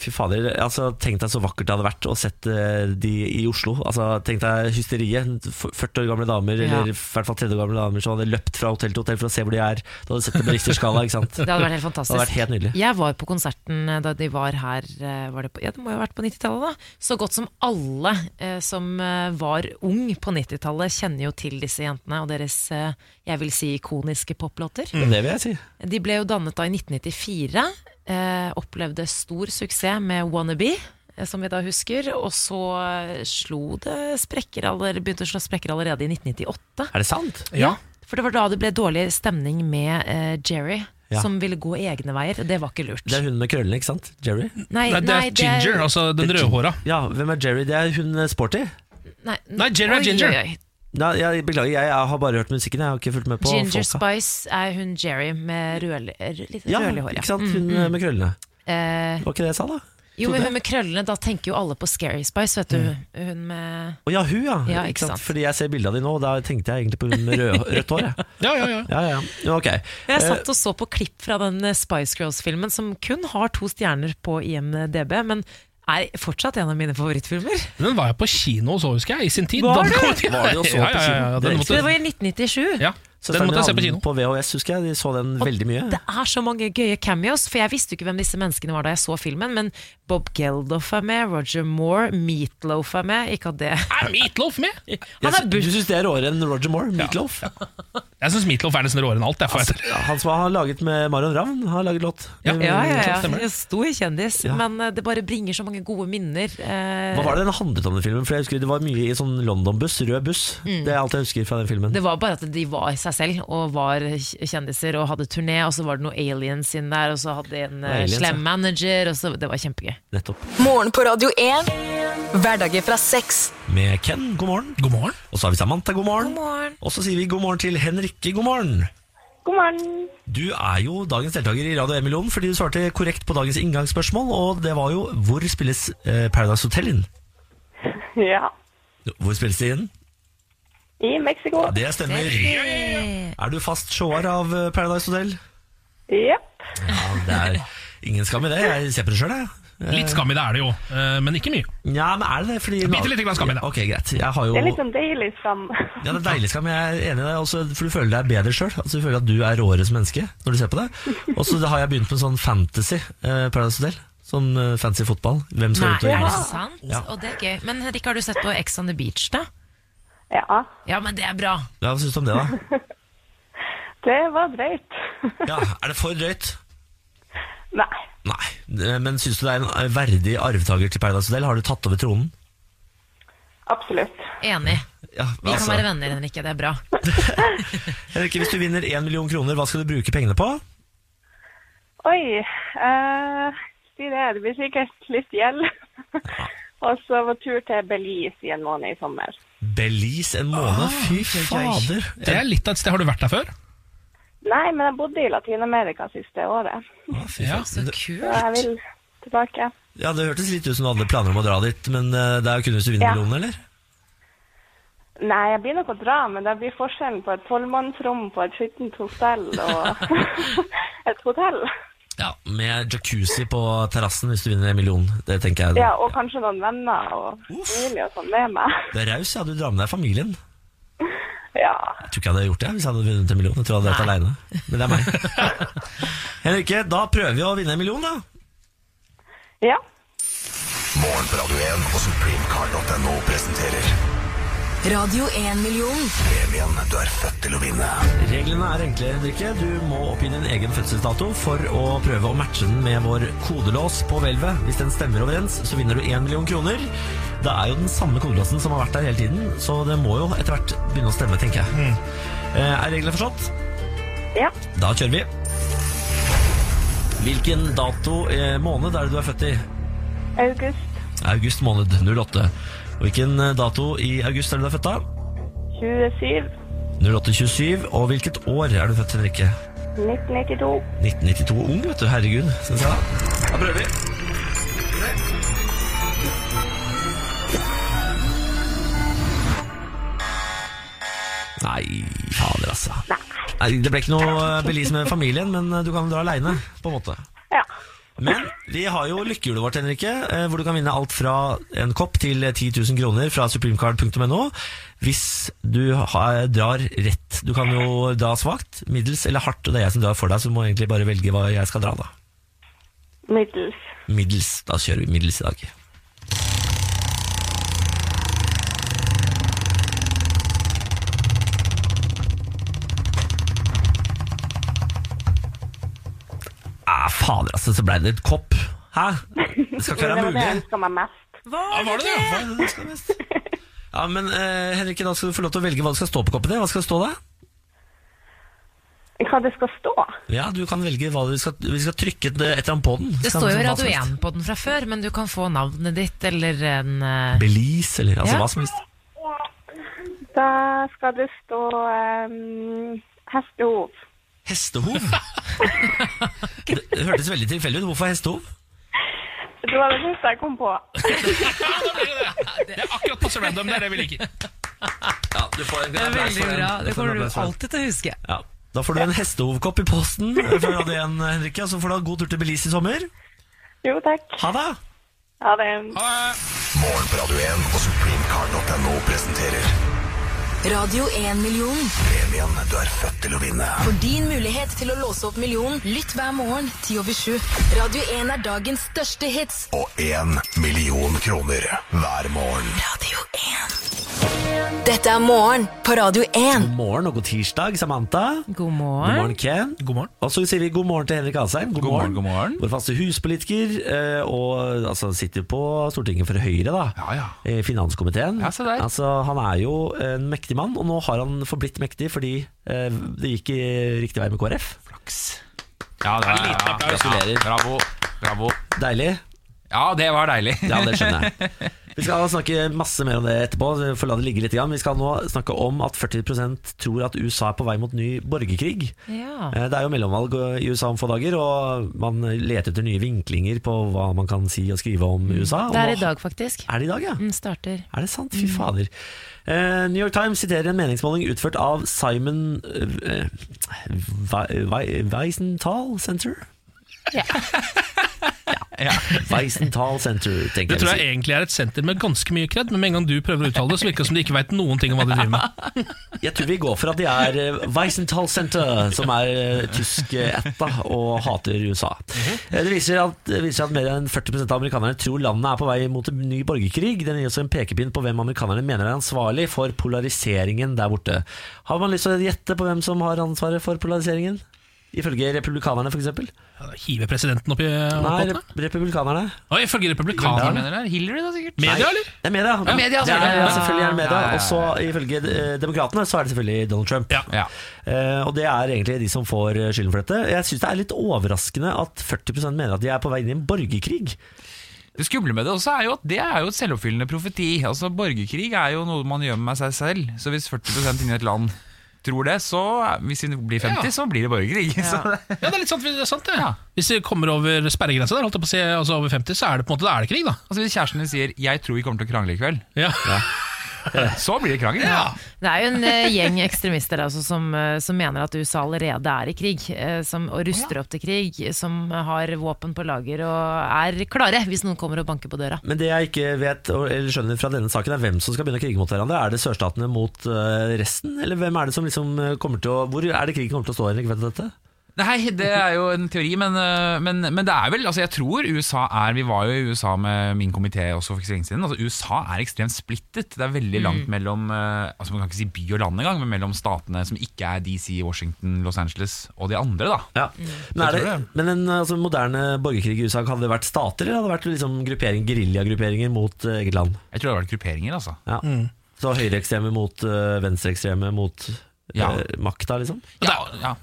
fy fader, altså, tenk deg så vakkert det hadde vært å sette de i Oslo. Altså, tenk deg hysteriet. F- 40 år gamle damer, Ja. eller i hvert fall 30 år gamle damer som hadde løpt fra hotell til hotell for å se hvor de er. Da hadde du sett det på Richterskala, ikke sant. [LAUGHS] Det hadde vært helt Det fantastisk. hadde vært helt nydelig. Jeg var på konserten eh, da de var her eh, var det, på, ja, det må jo ha vært på 90-tallet, da. Så godt som alle eh, som eh, var ung på 90-tallet, kjenner jo til disse jentene og deres eh, jeg vil si ikoniske poplåter. Det vil jeg si. De ble jo dannet da i 1994. Eh, opplevde stor suksess med Wannabe, eh, som vi da husker. Og så eh, slo det sprekker, aller- begynte å slå sprekker allerede i 1998. Er det sant? Ja. For det var da det ble dårlig stemning med eh, Jerry, Ja. som ville gå egne veier. Det var ikke lurt. Det er hun med krøllene, ikke sant? Jerry? Nei, nei, det er nei, det er- Ginger, altså den Det er Gin- rødhåra. Ja, hvem er Jerry? Det er hun eh, sporty. Nei, Nei, Jerry er oi, Ginger. oi, oi. Nei, jeg, beklager, jeg, jeg har bare hørt musikken, jeg har ikke fulgt med på Ginger folka. Spice er hun Jerry med rødlig, rød, litt Ja, rødlig hår. ikke sant? Mm. Hun eh, med krøllene. Eh, Var ikke det Mm. jeg sa, da? jo, men Trodde hun med krøllene, da tenker jo alle på Scary Spice, vet du. Hun med Å ja, hun, ja. Ja, ikke ikke sant? sant. Fordi jeg ser bilde av de nå, og da tenkte jeg egentlig på hun med rød, rødt hår. Jeg. Ja, ja, ja. Ja, ja, ja. ja. Ok. Jeg Eh. satt og så på klipp fra den eh, Spice Girls-filmen som kun har to stjerner på IMDb, men er fortsatt en av mine favorittfilmer. Den var jeg på kino og så, husker jeg, i sin tid. Var Da- du? Var du og så ja, på ja, ja, kino? ja, Det er den Så [LAUGHS] det måtte, var i 1997. ja. den måtte jeg se på kino. På VHS, husker jeg. De så den veldig mye. Det er så mange gøye cameos, for jeg visste jo ikke hvem disse menneskene var da jeg så filmen, men Bob Geldof er med, Roger Moore, Meatloaf er med, ikke at det Er [LAUGHS] Meatloaf med? Jeg Han sy- er du buss. syns det er råere enn Roger Moore? Meatloaf? Jeg syns Meatloaf er nesten råere enn alt. Jeg, for jeg. Han som har laget med Marion Ravn, har laget låt. Um, Ja. Med- Ja, ja, sant, ja. stemmer det. Jeg sto i kjendis, Ja. men eh, det bare bringer så mange gode minner. eh, Hva var det den handlet om, den filmen? For jeg husker Det var mye i sånn London-buss, rød buss. Mm. Det er alt jeg husker fra den filmen. Det var bare at de var seg selv og var kjendiser og hadde turné, og så var det noen aliens inn der, og så hadde de en eh, Aliens, ja. slem manager, og så Det var kjempegøy. Nettopp. Morgen på Radio 1. Hverdager fra seks. Med Ken, god morgen. God morgen. Og så har vi Samantha, god morgen. morgen. Og så sier vi god morgen til Henrikke, god morgen. God morgen. Du er jo dagens deltaker i Radio 1-millionen fordi du svarte korrekt på dagens inngangsspørsmål, og det var jo hvor spilles eh, Paradise Hotel inn? Ja, Hvor spilles det inn? i Mexico. Ja, det stemmer. Er du fast seer av eh, Paradise Hotel? Jepp. Ja, det er ingen skam i det. Jeg ser på det sjøl, jeg. Litt skam i det er det jo, eh, men ikke mye. Ja, men er det det? Fordi Bitte lite grann skam i det. Ok, greit. Jeg har jo Det er litt sånn deilig skam. ja, det er deilig skam, jeg er enig i det, også, for du føler deg bedre sjøl. Altså, du føler at du er råere som menneske når du ser på det. Og så har jeg begynt med sånn fantasy eh, Paradise Hotel. Sånn eh, fancy fotball. Hvem skal Nei, ut og er vinne? det sant? Ja. Og det er gøy. Men Henrik, har du sett på Ex on the Beach, da? Ja, Ja, men det er bra. Ja, Hva syns du om det, da? [LAUGHS] det var drøyt. Ja, Er det for drøyt? Nei. Nei. Eh, Men syns du det er en eh, verdig arvtaker til Paradise Hotel? Har du tatt over tronen? [LAUGHS] Absolutt. Enig. Ja, altså, Vi kan være venner, Henrikke. Det er bra. Henrikke, hvis du vinner én million kroner, hva skal du bruke pengene på? Oi. eh, si det, det blir sikkert litt gjeld. [LAUGHS] Og så var tur til Belize i en måned i sommer. Belize en måned? Fy Ah, oi, oi. fader. Det er litt av et sted. Har du vært der før? Nei, men jeg bodde i Latin-Amerika siste året. Ja, Ah, fy Ja. faen. Det- Så jeg vil tilbake. ja, Det hørtes litt ut som du hadde planer om å dra dit, men eh, det er jo kun hvis du vinner Ja. millionen, eller? Nei, jeg blir nok å dra, men det blir forskjellen på et tolvmannsrom på et skittent hotell og [LAUGHS] et hotell. Ja, Med jacuzzi på terrassen hvis du vinner en million. Det tenker jeg. Ja, og kanskje noen venner og familie og sånn med meg. [LAUGHS] Det er raus, ja. Du drar med deg familien. Ja. Jeg tror ikke jeg hadde gjort det hvis jeg hadde vunnet en million. Jeg tror jeg hadde vært alene. Men det er meg. Henrikke, da prøver vi å vinne en million, da. Ja. Radio 1-million. Premien du er født til å vinne. Reglene er enkle, Henrikke. Du må oppgi din egen fødselsdato for å prøve å matche den med vår kodelås på hvelvet. Hvis den stemmer overens, så vinner du 1 million kroner. Det er jo den samme kodelåsen som har vært der hele tiden, så det må jo etter hvert begynne å stemme, tenker jeg. Eh, Er reglene forstått? Ja. Da kjører vi. Hvilken dato eh, måned er det du er født i? August August måned 08. Hvilken eh, dato i august er det du er født av? 27, 0827. Og hvilket år er du født, Henrikke? 1992. 1992. Ung, vet du. Herregud. Synes jeg. Da prøver vi. Nei, fader, altså. Nei, det ble ikke noe belis med familien, men eh, du kan dra aleine, på en måte. Ja. Men vi har jo lykkehjulet vårt, Henrikke, eh, hvor du kan vinne alt fra en kopp til 10 000 kroner fra supremecard.no hvis du har, drar rett. Du kan jo dra svakt, middels eller hardt, og det er jeg som drar for deg, så du må egentlig bare velge hva jeg skal dra, da. Middels. Middels. Da kjører vi middels i dag. Ah, fader, altså, så ble det et kopp. Hæ? Det skal [LAUGHS] ikke Det være var det jeg mulig. ønska meg mest. Ja, var det det? Hva er det du skal [LAUGHS] mest? Ja, men eh, Henrikke, da skal du få lov til å velge hva det skal stå på koppen din. Hva skal det stå da? Hva det skal stå? Ja, du kan velge hva du skal Vi skal trykke et eller annet på den. Det Skal står liksom jo hva Radio som helst. 1 på den fra før, men du kan få navnet ditt eller en eh, Belize, eller altså Ja. hva som helst. Da skal det stå ehm, hestehov. [LAUGHS] Hestehov? det det hørtes veldig tilfeldig ut. Hvorfor hestehov? Det var det første jeg kom på. [LAUGHS] Det er akkurat passe random, det er det vi liker. Ja, du får en Det er veldig bra. får en Det kommer du applaus for den. alltid til å huske. Ja. Da får du en hestehovkopp i posten for Radio 1, Henrikke. Og så får du ha god tur til Belize i sommer. Jo, takk. Ha det! Ha det. Morgen på Radio 1 og supremecard.no presenterer Radio 1-million. premien du er født til å vinne. For din mulighet til å låse opp millionen, lytt hver morgen 10 over 7. Radio 1 er dagens største hits. Og én million kroner hver morgen. Radio 1. Dette er morgen på Radio 1. God morgen og god tirsdag, Samantha. God God morgen. morgen, Ken. God morgen. Og så sier vi god morgen til Henrik Asheim. God, morgen, god morgen. Vår faste huspolitiker, eh, og altså, sitter på Stortinget for Høyre, da. Ja, ja. I finanskomiteen. Ja, se der. Altså, han er jo en mektig mann, og nå har han forblitt mektig fordi eh, det gikk i riktig vei med KrF. Ja, det er, liten ja, applaus. Gratulerer. Bravo. Bravo. Deilig. Ja, det var deilig. [LAUGHS] Ja, det skjønner [LAUGHS] jeg. Vi skal snakke masse mer om det etterpå. Vi får la det ligge litt. Grann. Vi skal nå snakke om at 40 tror at USA er på vei mot ny borgerkrig. Ja. Eh, Det er jo mellomvalg eh, i USA om få dager, og man leter etter nye vinklinger på hva man kan si og skrive om USA. Mm. Det Og er i nå- dag, Mm. faktisk. Er det i dag, ja? Den starter. Er det sant? Fy Mm. fader. Eh, New York Times siterer en meningsmåling utført av Simon eh, Wei- Wei- Weisenthal Center? Ja. Weisenthal Center, tenker Det tror jeg. jeg egentlig er et senter med ganske mye kred, men med en gang du prøver å uttale det, så virker det som de ikke veit noen ting om hva de driver [LAUGHS] med. Jeg tror vi går for at de er eh, Weisenthal Center, som er eh, tysk eh, ætta og hater USA. Eh, Det viser at, det viser at mer enn 40 av amerikanerne tror landet er på vei mot en ny borgerkrig. Den gir også en pekepinn på hvem amerikanerne mener er ansvarlig for polariseringen der borte. Har man lyst til å gjette på hvem som har ansvaret for polariseringen? Ifølge republikanerne, f.eks.? Hive presidenten opp i Nei, båten? rep republikanerne. Oi, ifølge Hva republikanerne. mener du? Hillary, da, sikkert? Media, eller? Det er media. Ja, media, det er, selvfølgelig. ja, selvfølgelig er det media. Ja, ja, ja. Og så ifølge eh, demokratene så er det selvfølgelig Donald Trump. Ja. Ja. Eh, og det er egentlig de som får eh, skylden for dette. Jeg syns det er litt overraskende at 40 mener at de er på vei inn i en borgerkrig. Det skumle med det også er jo at det er jo et selvoppfyllende profeti. Altså, Borgerkrig er jo noe man gjør med seg selv. Så hvis 40 inni et land tror det, så hvis det blir 50, Ja. så blir det borgerkrig. [LAUGHS] Så det, Ja, det er litt sant, det er sant det. Ja. Hvis de kommer over sperregrensa der, holdt jeg på å si, altså over 50, så er det på en måte, da er det krig, da. altså Hvis kjæresten din sier 'jeg tror vi kommer til å krangle i kveld', [LAUGHS] Ja. så blir det krangel. Ja. Det er jo en eh, gjeng ekstremister der, altså, som, eh, som mener at USA allerede er i krig, eh, som, og ruster opp til krig, som har våpen på lager og er klare hvis noen kommer og banker på døra. Men det jeg ikke vet og- eller skjønner fra denne saken, er hvem som skal begynne å krige mot hverandre. Er det sørstatene mot eh, resten, eller hvem er det som liksom eh, kommer til å Hvor er det krigen kommer til å stå? Henrik, vet du dette? Nei, det er jo en teori, men, øh, men, men det er vel altså Jeg tror USA er Vi var jo i USA med min komité også for ikke så lenge siden. Altså USA er ekstremt splittet. Det er veldig Mm. langt mellom øh, Altså Man kan ikke si by og land engang, men mellom statene som ikke er DC, Washington, Los Angeles og de andre, da. Men, er det, men en altså, moderne borgerkrig i USA, hadde det vært stater, eller hadde det vært liksom, gruppering, geriljagrupperinger mot eh, eget land? Jeg tror det hadde vært grupperinger, altså. Ja. Mm. Så høyreekstreme mot eh, venstreekstreme mot eh, Ja. makta, liksom? Ja, ja.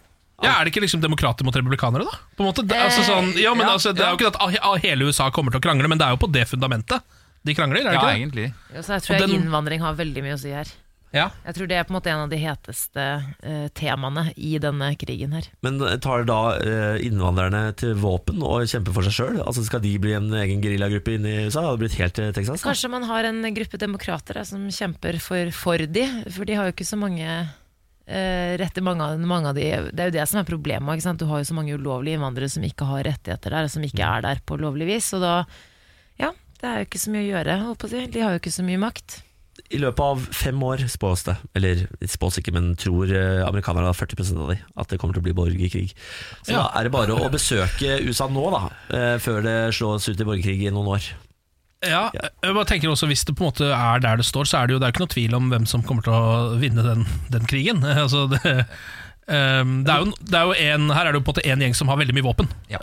er det ikke liksom demokrater mot republikanere, da? På en måte, det, altså sånn, ja, men Eh, ja, altså, det er jo ikke at ah, ah, hele USA kommer til å krangle, men det er jo på det fundamentet de krangler. er det Ja, ikke det? egentlig. Jo, så jeg tror Og jeg den- innvandring har veldig mye å si her. Ja. Jeg tror det er på en måte en av de heteste eh, temaene i denne krigen her. Men tar da eh, innvandrerne til våpen og kjemper for seg sjøl? Altså, skal de bli en egen geriljagruppe inne i USA? Hadde det blitt helt eh, Texas? da? Kanskje man har en gruppe demokrater da, som kjemper for, for de, for de har jo ikke så mange eh, retter mange av, mange av de, Det er jo det som er problemet. Ikke sant? Du har jo så mange ulovlige innvandrere som ikke har rettigheter der, som ikke er der på lovlig vis. Og da, ja, det er jo ikke så mye å gjøre, holdt på å si. De har jo ikke så mye makt. I løpet av fem år spås det, eller spås ikke, men tror eh, amerikanerne, da, 40 av de, at det kommer til å bli borgerkrig. Så da Ja. er det bare å besøke USA nå, da, eh, før det slås ut i borgerkrig i noen år. Ja, jeg bare tenker også Hvis det på en måte er der det står, så er det jo det er jo ikke noe tvil om hvem som kommer til å vinne den, den krigen. [LAUGHS] Altså, det, ehm, det er jo, det er jo en, her er det jo på en måte en gjeng som har veldig mye våpen. Og Ja.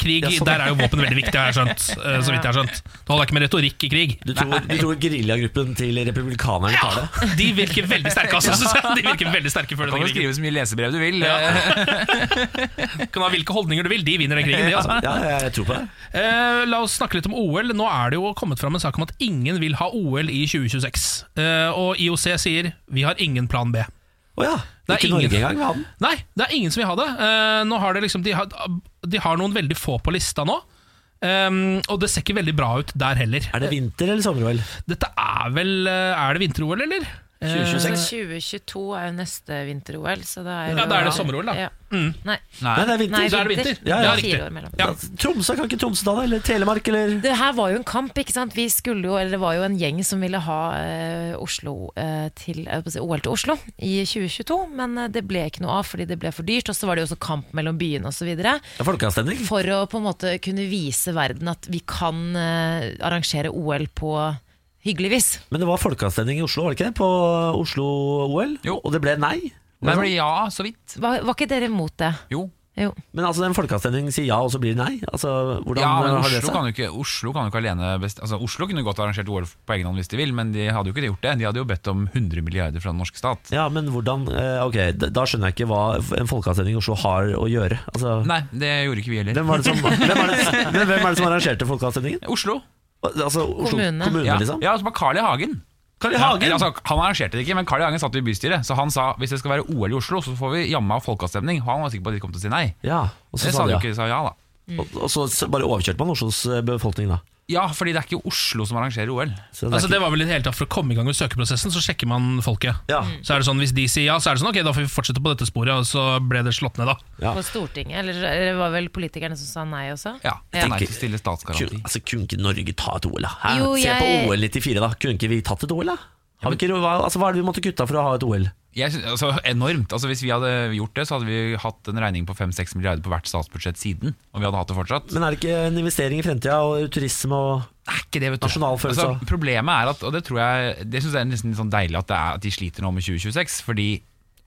krig, Ja, sånn. der er jo våpen veldig viktig, har jeg skjønt. eh, Så vidt jeg har skjønt. Det holder ikke med retorikk i krig. Du tror, du tror geriljagruppen til republikanerne tar det? [LAUGHS] De virker veldig sterke, [LAUGHS] altså. synes jeg. De virker veldig sterke før Du kan denne jo krigen. skrive så mye lesebrev du vil. [LAUGHS] Kan ha hvilke holdninger du vil, de vinner den krigen, de, altså. jeg tror på det. Eh, la oss snakke litt om OL. Nå er det jo kommet fram en sak om at ingen vil ha OL i 2026. Eh, og IOC sier vi har ingen plan B. Å ja. Det Ikke Norge engang vil ha den. Nei, det er ingen som vil ha det. Eh, nå har det liksom, de, har, de har noen veldig få på lista nå. Um, og det ser ikke veldig bra ut der heller. Er det vinter eller sommer-OL? Dette er vel eh, Er det vinter-OL, eller? Eh, Så 2022 er jo neste vinter-OL, så da er Ja, da er det sommer-OL, da. Ja. Mm. Nei. Nei, det er vinter. Nei, Så er det vinter. vinter. Ja, ja. Det er Riktig. Fire år mellom. Ja. Tromsø, kan ikke Tromsø ta det? Eller Telemark, eller Det her var jo en kamp, ikke sant? Vi skulle jo, eller det var jo en gjeng som ville ha eh, Oslo eh, til, jeg holdt på å si, OL til Oslo i 2022, men eh, det ble ikke noe av fordi det ble for dyrt, og så var det jo også kamp mellom byene og så videre. Det er folkeavstemning. For å på en måte kunne vise verden at vi kan eh, arrangere OL på hyggelig vis. Men det var folkeavstemning i Oslo, var det ikke det? På Oslo-OL? Og det ble nei? Nei, det ble ja, så vidt. Var, var ikke dere imot det? Jo. Jo. Men altså, en folkeavstemning sier ja, og så blir det nei? Altså, hvordan ja, men har Oslo det seg? kan jo ikke, Oslo kan jo ikke alene best, altså Oslo kunne godt arrangert OL på egen hånd hvis de vil, men de hadde jo ikke gjort det. De hadde jo bedt om 100 milliarder fra den norske stat. Ja, men hvordan eh, Ok, d- da skjønner jeg ikke hva en folkeavstemning i Oslo har å gjøre. Altså, [LAUGHS] Nei, det gjorde ikke vi heller. hvem, var det som, hvem, er det, men hvem er det som arrangerte folkeavstemningen? [LAUGHS] Oslo. Altså, Oslo kommune, ja. liksom? Ja, altså bare Carl I. Hagen. Carl I. Ja, Hagen? eller altså, han arrangerte det ikke, men Carl I. Hagen satt i bystyret, så han sa hvis det skal være OL i Oslo, så får vi jammen ha folkeavstemning. Og Han var sikker på at de kom til å si nei. Ja, og så det sa sa de de ja. jo ikke, de sa ja da. Og, og så s- bare overkjørte man Oslos eh, befolkning, da. Ja, fordi det er ikke Oslo som arrangerer OL. Så det er Altså ikke- det var vel i det hele tatt For å komme i gang med søkeprosessen, så sjekker man folket. Mm. Så er det sånn, Hvis de sier ja, så er det sånn ok, da får vi fortsette på dette sporet. Og så ble det slått ned, da. På Stortinget, eller det var vel politikerne som sa nei også? Jeg nei tenker- til stille statsgaranti. Kun, altså, kunne ikke Norge ta et OL, da? Hæ? Jo, Se på jeg- OL 94, da. Kunne ikke vi tatt et OL, da? Har vi ikke, hva, altså, hva er det vi måtte kutta for å ha et OL? Jeg synes, altså, enormt. Altså, hvis vi hadde gjort det, så hadde vi hatt en regning på 5-6 milliarder på hvert statsbudsjett siden. Og vi hadde hatt det fortsatt. Men er det ikke en investering i fremtida og turisme og nasjonalfølelse? Altså, problemet er at, og det tror jeg Det synes jeg er nesten litt sånn deilig at, det er, at de sliter nå med 2026. Fordi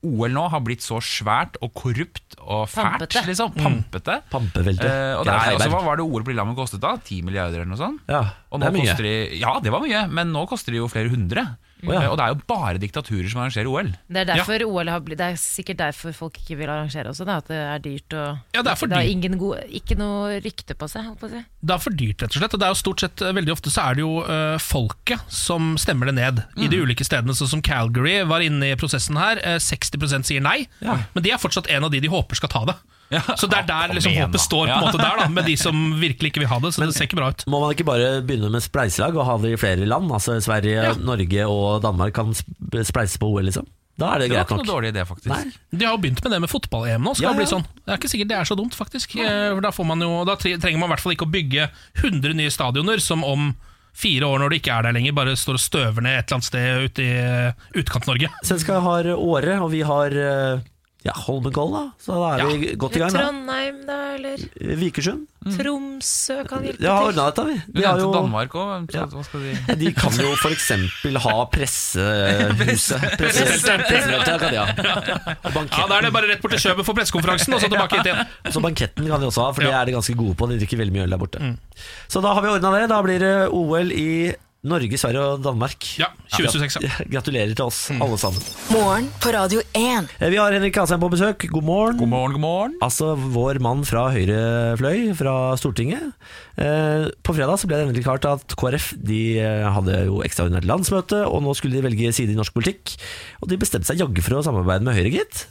OL nå har blitt så svært og korrupt og fælt. Pampete. Liksom, Mm. pampete. Pampevelte. Eh, og det Geir er, altså, Heiberg. hva var det OL på Lillehammer kostet da? 10 milliarder eller noe sånt? Ja, Og det nå er mye. koster de, ja, det var mye, men nå koster det jo flere hundre. Å, ja. Eh, Og det er jo bare diktaturer som arrangerer OL. Det er, derfor OL har blitt, det er sikkert derfor folk ikke vil arrangere også, da, at det er dyrt og Ja, det er for har dyrt. ingen god, ikke noe rykte på seg. holdt på å si. Det er for dyrt, rett og slett. Og det er jo stort sett, eh, Veldig ofte så er det jo eh, folket som stemmer det ned i de ulike stedene. Sånn som Calgary var inne i prosessen her. eh, 60 sier nei, Ja. men de er fortsatt en av de de håper skal ta det. Så det er der liksom igjen, da. håpet står, på Ja. en måte der da med de som virkelig ikke vil ha det. Så det ser ikke bra ut. Må man ikke bare begynne med spleiselag og ha det i flere land? Altså Sverige, Norge og Danmark kan sp- spleise på OL, liksom? Da er det, Det var greit ikke nok. noe dårlig idé, faktisk. De har jo begynt med det med fotball-EM nå. Skal Ja, det bli ja. sånn Det er ikke sikkert det er så dumt, faktisk. Eh, for Da, får man jo, da tre- trenger man i hvert fall ikke å bygge 100 nye stadioner som om fire år, når det ikke er der lenger, bare står og støver ned et eller annet sted ute i eh, Utkant-Norge. Svenska har Åre, og vi har eh, Ja, Holmenkollen, da. Så da er Ja. vi godt i gang. Eller da Trondheim, da, eller Vikersund. Tromsø kan hjelpe Mm. Ja, har ordna dette, vi. Du De har nevnte jo- Danmark òg. Hva skal de De kan jo f.eks. ha [LAUGHS] pressehuset. Pressemøte. Pressemøte kan de ha. Ja, Da er det bare rett bort til Kjøben for pressekonferansen, og så tilbake hit igjen. Så banketten kan de også ha, for det er de ganske gode på. De drikker veldig mye øl der borte. Så da har vi ordna det. Da blir det OL i Norge, Sverige og Danmark. Ja, Mm. 2026, ja. [LAUGHS] Gratulerer til oss, alle sammen. Morgen på Radio 1. Eh, Vi har Henrik Asheim på besøk. God morgen. God morgen, god morgen Altså vår mann fra høyre fløy, fra Stortinget. Eh, På fredag så ble det endelig klart at KrF de eh, hadde jo ekstraordinært landsmøte, og nå skulle de velge side i norsk politikk. Og de bestemte seg jaggu for å samarbeide med Høyre, gitt.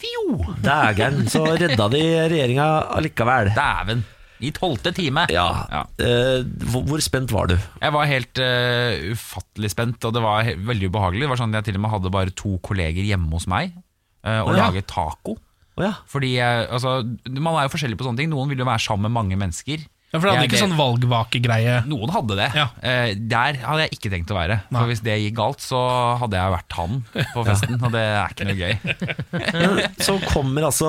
Dægeren. Så redda de regjeringa allikevel. Dæven. I tolvte time. Ja. Eh, hvor, hvor spent var du? Jeg var helt eh, ufattelig spent, og det var he- veldig ubehagelig. Det var sånn at Jeg til og med hadde bare to kolleger hjemme hos meg eh, og Å ja. laget taco. Å ja. [LAUGHS] Fordi jeg, altså, Man er jo forskjellig på sånne ting. Noen vil jo være sammen med mange mennesker. Ja, for det hadde Jeg- ikke sånn valgvakegreie. Noen hadde det. Eh, der hadde jeg ikke tenkt å være. For Hvis det gikk galt, så hadde jeg vært han [LAUGHS] på festen, og det er ikke noe gøy. Men så kommer altså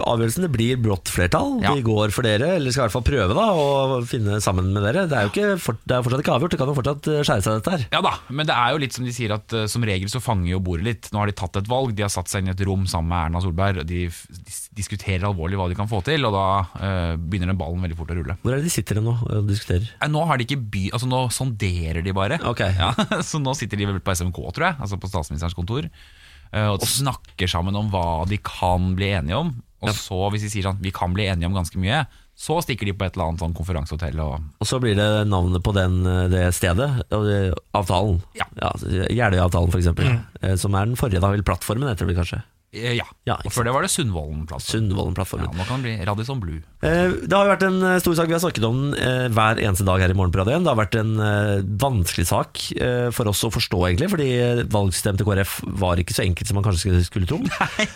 avgjørelsen. Det blir brått flertall. De går for dere, eller skal i hvert fall prøve da å finne sammen med dere. Det er jo ikke, for, det er jo fortsatt ikke avgjort, det kan jo fortsatt eh, skjære seg dette her. [LAUGHS] Ja da, men det er jo litt som de sier at eh, som regel så fanger jo bordet litt. Nå har de tatt et valg, de har satt seg inn i et rom sammen med Erna Solberg, og de f- dis- diskuterer alvorlig hva de kan få til, og da eh, begynner den ballen veldig fort å rulle. Hvor er det de sitter nå og diskuterer? Eh, Nå har de ikke by, altså nå sonderer de bare. Ja, [LAUGHS] så nå sitter de vel på SMK, tror jeg, altså på statsministerens kontor, eh, og snakker sammen om hva de kan bli enige om. Og så, hvis de sier sånn, vi kan bli enige om ganske mye, så stikker de på et eller annet sånn konferansehotell og Og så blir det navnet på den, eh, det stedet og det, avtalen. Ja. altså, Jeløya-avtalen, f.eks. eksempel Eh, Som er den forrige, da vel plattformen heter det vel kanskje. Eh, Ja. og før det var det Sundvolden-plattformen. Sundvolden-plattformen. Ja, nå kan det bli Radisson Blue. Eh, Det har jo vært en eh, stor sak, vi har snakket om den eh, hver eneste dag her i Morgenprat igjen. Det har vært en eh, vanskelig sak eh, for oss å forstå, egentlig, fordi eh, valgsystemet til KrF var ikke så enkelt som man kanskje skulle- skulle [LAUGHS] tro. Eh,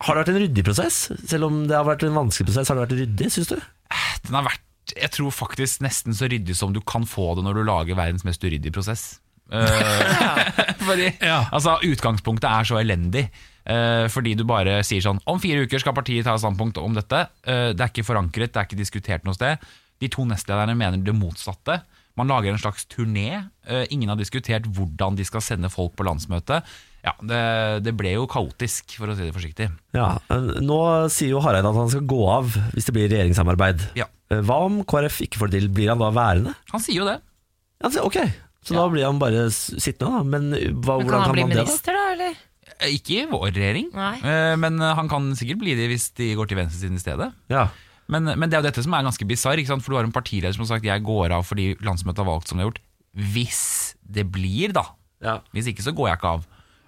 Har det vært en ryddig prosess? Selv om det har vært en vanskelig prosess, har det vært ryddig, syns du? Den har vært jeg tror faktisk nesten så ryddig som du kan få det når du lager verdens mest uryddige prosess. Eh, [LAUGHS] fordi altså, utgangspunktet er så elendig. eh, fordi du bare sier sånn Om fire uker skal partiet ta standpunkt om dette. Eh, det er ikke forankret, det er ikke diskutert noe sted. De to nestlederne mener det motsatte. Man lager en slags turné. Eh, ingen har diskutert hvordan de skal sende folk på landsmøte. Ja, det, det ble jo kaotisk, for å si det forsiktig. Ja, eh, Nå sier jo Hareide at han skal gå av hvis det blir regjeringssamarbeid. Ja. Eh, Hva om KrF ikke får det til? Blir han da værende? Han sier jo det. Ja, så- ok, så da blir han bare s- sittende, da. Men, eh, hva, Men hvordan kan han kan bli han det, da? minister, da? eller? Eh, Ikke i vår regjering, Nei. Eh, men eh, han kan sikkert bli det hvis de går til venstresiden i stedet. Men, eh, men det er jo dette som er ganske bisarr, ikke sant? for du har en partileder som har sagt jeg går av fordi landsmøtet har valgt som det har gjort. Hvis det blir, da. Hvis ikke, så går jeg ikke av.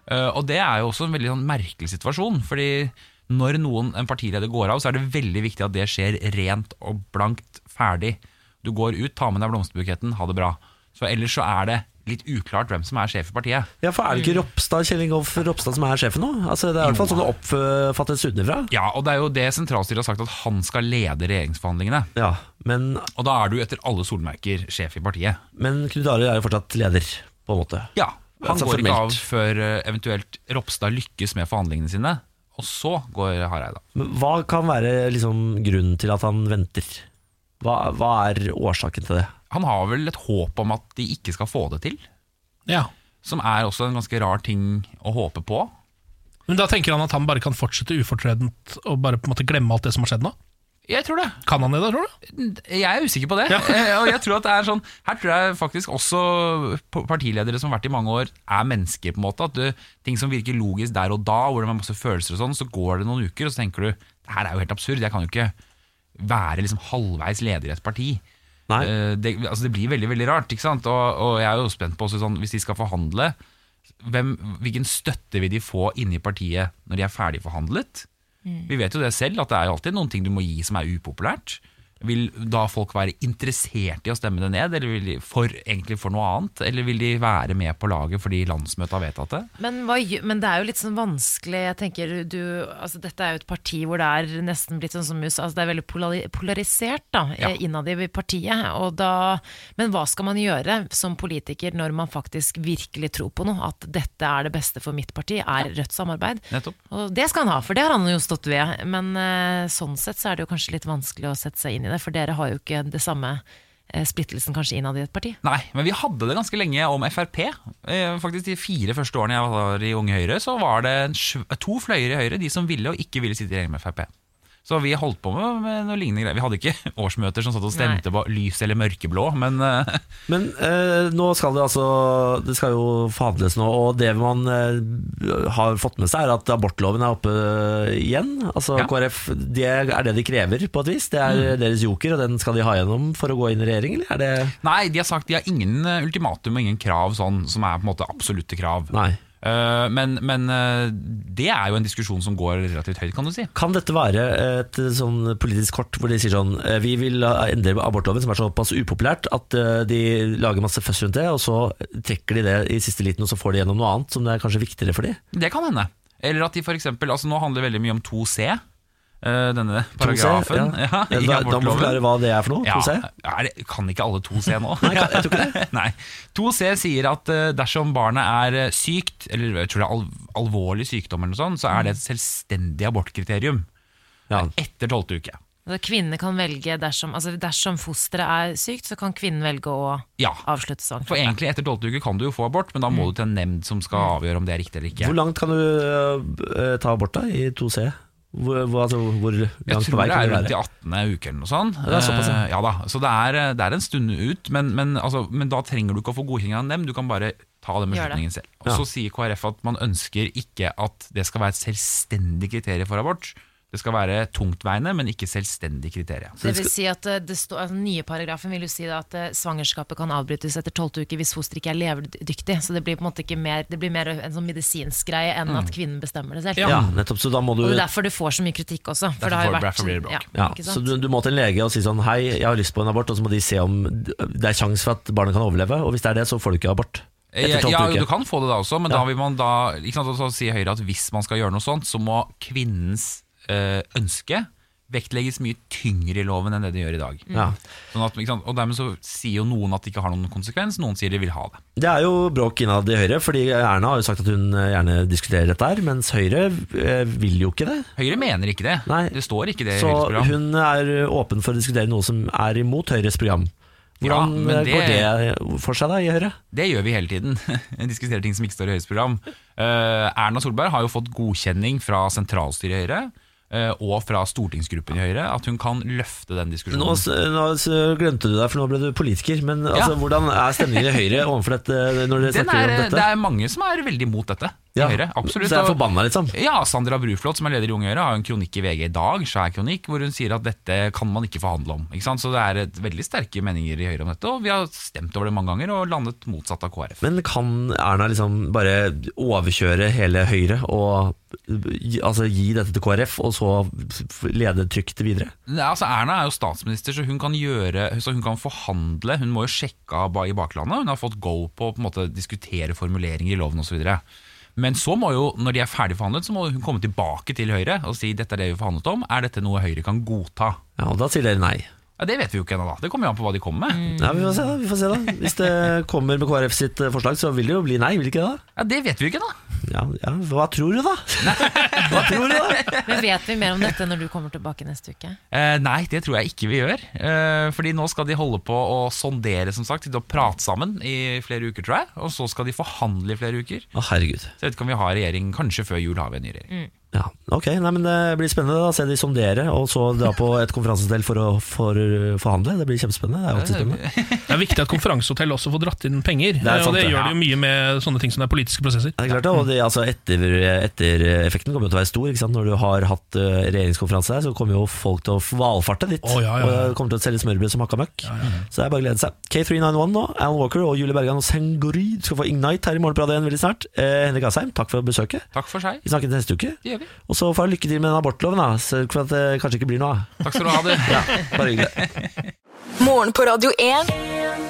Eh, og det er jo også en veldig sånn merkelig situasjon, fordi når noen, en partileder går av, så er det veldig viktig at det skjer rent og blankt ferdig. Du går ut, tar med deg blomsterbuketten, ha det bra. Så ellers så er det litt uklart hvem som er sjef i partiet. Ja, for er det Mm. ikke Ropstad, Kjell Ingolf Ropstad som er sjefen nå? Altså, det er i hvert fall sånn det oppfattes utenfra. Ja, og det er jo det sentralstyret har sagt, at han skal lede regjeringsforhandlingene. Ja, men, Og da er du etter alle solmerker sjef i partiet. Men Knut Arild er jo fortsatt leder, på en måte. Ja, han Altså, går ikke formelt. av før eh, eventuelt Ropstad lykkes med forhandlingene sine, og så går Hareide av. Men hva kan være liksom, grunnen til at han venter? Hva, hva er årsaken til det? Han har vel et håp om at de ikke skal få det til, Ja. som er også en ganske rar ting å håpe på. Men da tenker han at han bare kan fortsette ufortrødent og bare på en måte glemme alt det som har skjedd nå? Jeg tror det. Kan han det, da, tror du? Jeg er usikker på det. Eh, [LAUGHS] og jeg tror at det er sånn Her tror jeg faktisk også p- partiledere som har vært i mange år, er mennesker. på en måte At du, Ting som virker logisk der og da, hvor det er masse følelser og sånn, så går det noen uker, og så tenker du Det her er jo helt absurd. Jeg kan jo ikke være liksom halvveis leder i et parti. Eh, Det, altså det blir veldig veldig rart. ikke sant? Og, og jeg er jo spent på også sånn, hvis de skal forhandle hvem, Hvilken støtte vil de få inni partiet når de er ferdig forhandlet? Vi vet jo det selv, at det er jo alltid noen ting du må gi som er upopulært. Vil da folk være interessert i å stemme det ned, eller vil de for, egentlig for noe annet? Eller vil de være med på laget fordi landsmøtet har vedtatt det? Men, hva, gjø- men det er jo litt sånn vanskelig Jeg tenker du, altså Dette er jo et parti hvor det er nesten blitt sånn som USA altså Det er veldig polari- polarisert da Ja. eh, innad i partiet. Og da, men hva skal man gjøre som politiker når man faktisk virkelig tror på noe? At dette er det beste for mitt parti, er rødt samarbeid. Nettopp. Og det skal han ha, for det har han jo stått ved. Men eh, sånn sett så er det jo kanskje litt vanskelig å sette seg inn i det, for dere har jo ikke det samme eh, splittelsen kanskje innad i et parti. Nei, men vi hadde det ganske lenge om Frp. Eh, Faktisk De fire første årene jeg var i Unge Høyre, så var det en sv- to fløyer i Høyre, de som ville og ikke ville sitte i regjering med Frp. Så vi holdt på med, med noe lignende greier. Vi hadde ikke [LAUGHS] årsmøter som satt og stemte på lys eller mørkeblå, men eh, [LAUGHS] Men eh, nå skal det altså Det skal jo forhandles nå, og det man eh, har fått med seg, er at abortloven er oppe igjen. Altså Ja. Mm. KrF, det er det de krever, på et vis. Det er deres joker, og den skal de ha gjennom for å gå inn i regjering, eller er det Nei, de har sagt de har ingen eh, ultimatum og ingen krav sånn, som er på en måte absolutte krav. Eh, men men eh, det er jo en diskusjon som går relativt høyt, kan du si. Kan dette være et sånn politisk kort hvor de sier sånn eh, Vi vil eh, endre abortloven, som er såpass upopulært at eh, de lager masse føss rundt det, og så trekker de det i siste liten, og så får de gjennom noe annet som det er kanskje viktigere for de. Det kan hende. Eller at de for eksempel, altså Nå handler det veldig mye om 2C, eh, denne 2C, paragrafen. ja. [LAUGHS] Ja, i Da- da må du abortloven. forklare hva det er for noe, 2C. Ja, er det, kan ikke alle 2C [LAUGHS] nå? [LAUGHS] Nei, jeg tror ikke det. 2C sier at eh, dersom barnet er eh, sykt, eller jeg tror det er al alvorlig sykdom, eller noe sånt, så er det et Mm. selvstendig abortkriterium etter tolvte uke. Altså, kvinner kan velge dersom, altså, dersom fosteret er sykt, så kan kvinnen velge å Ja. avslutte svangerskapet. For egentlig etter tolvte uke kan du jo få abort, men da må du til en nemnd som skal avgjøre om det er riktig eller ikke. Mm. Hvor langt kan du eh, ta abort da, i 2C? Hvor, hvor, altså, hvor Jeg langt på tror vei det kan er du rundt i være? 18. uke eller noe sånt. Ja, det er såpass, ja. Eh, ja da, Så det er, det er en stund ut, men, men, altså, men da trenger du ikke å få godkjenning av en nemnd, du kan bare ta Gjør den det. beslutningen selv. Og Ja. Så sier KrF at man ønsker ikke at det skal være et selvstendig kriterium for abort. Det skal være tungtveiende, men ikke selvstendig kriterium. Det vil si at eh, det står, altså, den nye paragrafen vil jo si da at eh, svangerskapet kan avbrytes etter tolvte uke hvis fosteret ikke er levedyktig. Så det blir på en måte ikke mer, det blir mer en sånn medisinsk greie enn Mm. at kvinnen bestemmer det selv. Ja. nettopp, så da må Og du det er derfor du får så mye kritikk også. For det har jo Derfor vært får- derfor blir det bråk. ja, ja, ikke Så sant? du, du må til en lege og si sånn Hei, jeg har lyst på en abort, og så må de se om det er sjanse for at barnet kan overleve. Og hvis det er det, så får du ikke abort. Ja, Etter 12. Eh, ja, uke. du kan få det da også, men Ja. da vil man da ikke sant, og Så sier Høyre at hvis man skal gjøre noe sånt, så må kvinnens eh, ønske vektlegges mye tyngre i loven enn det det gjør i dag. Mm. Ja. Sånn at, ikke sant, og dermed så sier jo noen at det ikke har noen konsekvens, noen sier de vil ha det. Det er jo bråk innad i Høyre, fordi Erna har jo sagt at hun eh, gjerne diskuterer dette her, mens Høyre eh, vil jo ikke det. Høyre mener ikke det. Det står ikke det i Så Høyres program. hun er åpen for å diskutere noe som er imot Høyres program. Ja, Hvordan men eh, går det- det for seg da i Høyre? Det gjør vi hele tiden. [LAUGHS] Diskuterer ting som ikke står i Høyres program. Eh, Erna Solberg har jo fått godkjenning fra sentralstyret i Høyre eh, og fra stortingsgruppen i Høyre at hun kan løfte den diskusjonen. Nå, s- nå s- glemte du deg, for nå ble du politiker. Men Ja. altså, hvordan er stemningen i Høyre overfor dette, eh, når dere Den snakker er- eh, om dette? Det er mange som er veldig imot dette. i Ja, Høyre, absolutt. så er jeg Og- forbanna, liksom. Ja, Sandra Bruflot, som er leder i Unge Høyre, har jo en kronikk i VG i dag, svær kronikk, hvor hun sier at dette kan man ikke forhandle om. Ikke sant? Så det er et veldig sterke meninger i Høyre om dette, og vi har stemt over det mange ganger og landet motsatt av KrF. Men kan Erna liksom bare overkjøre hele Høyre og gi- altså, gi dette til KrF, og så f- lede trygt videre? Nei, altså Erna er jo statsminister, så hun kan, gjøre, så hun kan forhandle. Hun må jo sjekke av ba- i baklandet. Hun har fått go på å på en måte diskutere formuleringer i loven osv. Men så må jo, når de er ferdig forhandlet, så må hun komme tilbake til Høyre og si dette er det vi forhandlet om, er dette noe Høyre kan godta? Ja, og Da sier dere nei. Ja, Det vet vi jo ikke ennå, da. Det kommer jo an på hva de kommer med. Ja, vi får se da, vi får se da. Hvis det kommer med KrF sitt eh, forslag, så vil det jo bli nei, vil det ikke det? da? Ja, Det vet vi jo ikke, da. Ja, ja, hva tror du da? [LAUGHS] Hva tror du da? Men vet vi mer om dette når du kommer tilbake neste uke? Eh, nei, det tror jeg ikke vi gjør. Eh, fordi nå skal de holde på å sondere, som sagt. De prate sammen i flere uker, tror jeg. Og så skal de forhandle i flere uker. Å, herregud. Så jeg vet ikke om vi har regjering. Kanskje før jul har vi en ny regjering. Ja, ok, nei, men det blir spennende da, se de sondere, og så dra på et konferansestell for å for, forhandle. Det blir kjempespennende, det er jo alltid spennende. Det er viktig at konferansehotell også får dratt inn penger. eh, Det er sant, og det det. gjør de jo mye med sånne ting som det er politiske prosesser. Ja, Det er klart det, og det, altså etter, Ettereffekten kommer jo til å være stor. Ikke sant? Når du har hatt eh, regjeringskonferanse her, så kommer jo folk til å valfarte dit. Å, ja, ja, ja. Og det kommer til å selge smørbrød som hakka møkk. Så det er bare å glede seg. K391 nå, Alan Walker og Julie Bergan og Sengori skal få Ignite her i morgen på Radio 1 veldig snart. Eh, Henrik Asheim, takk for besøket. Takk for seg. Vi snakkes neste uke. Det gjør vi. Og så får jeg lykke til med den abortloven, da, så for at det kanskje ikke blir noe av. Takk skal du [LAUGHS] ha, du. Ja, bare hyggelig. Morgen på Radio 1.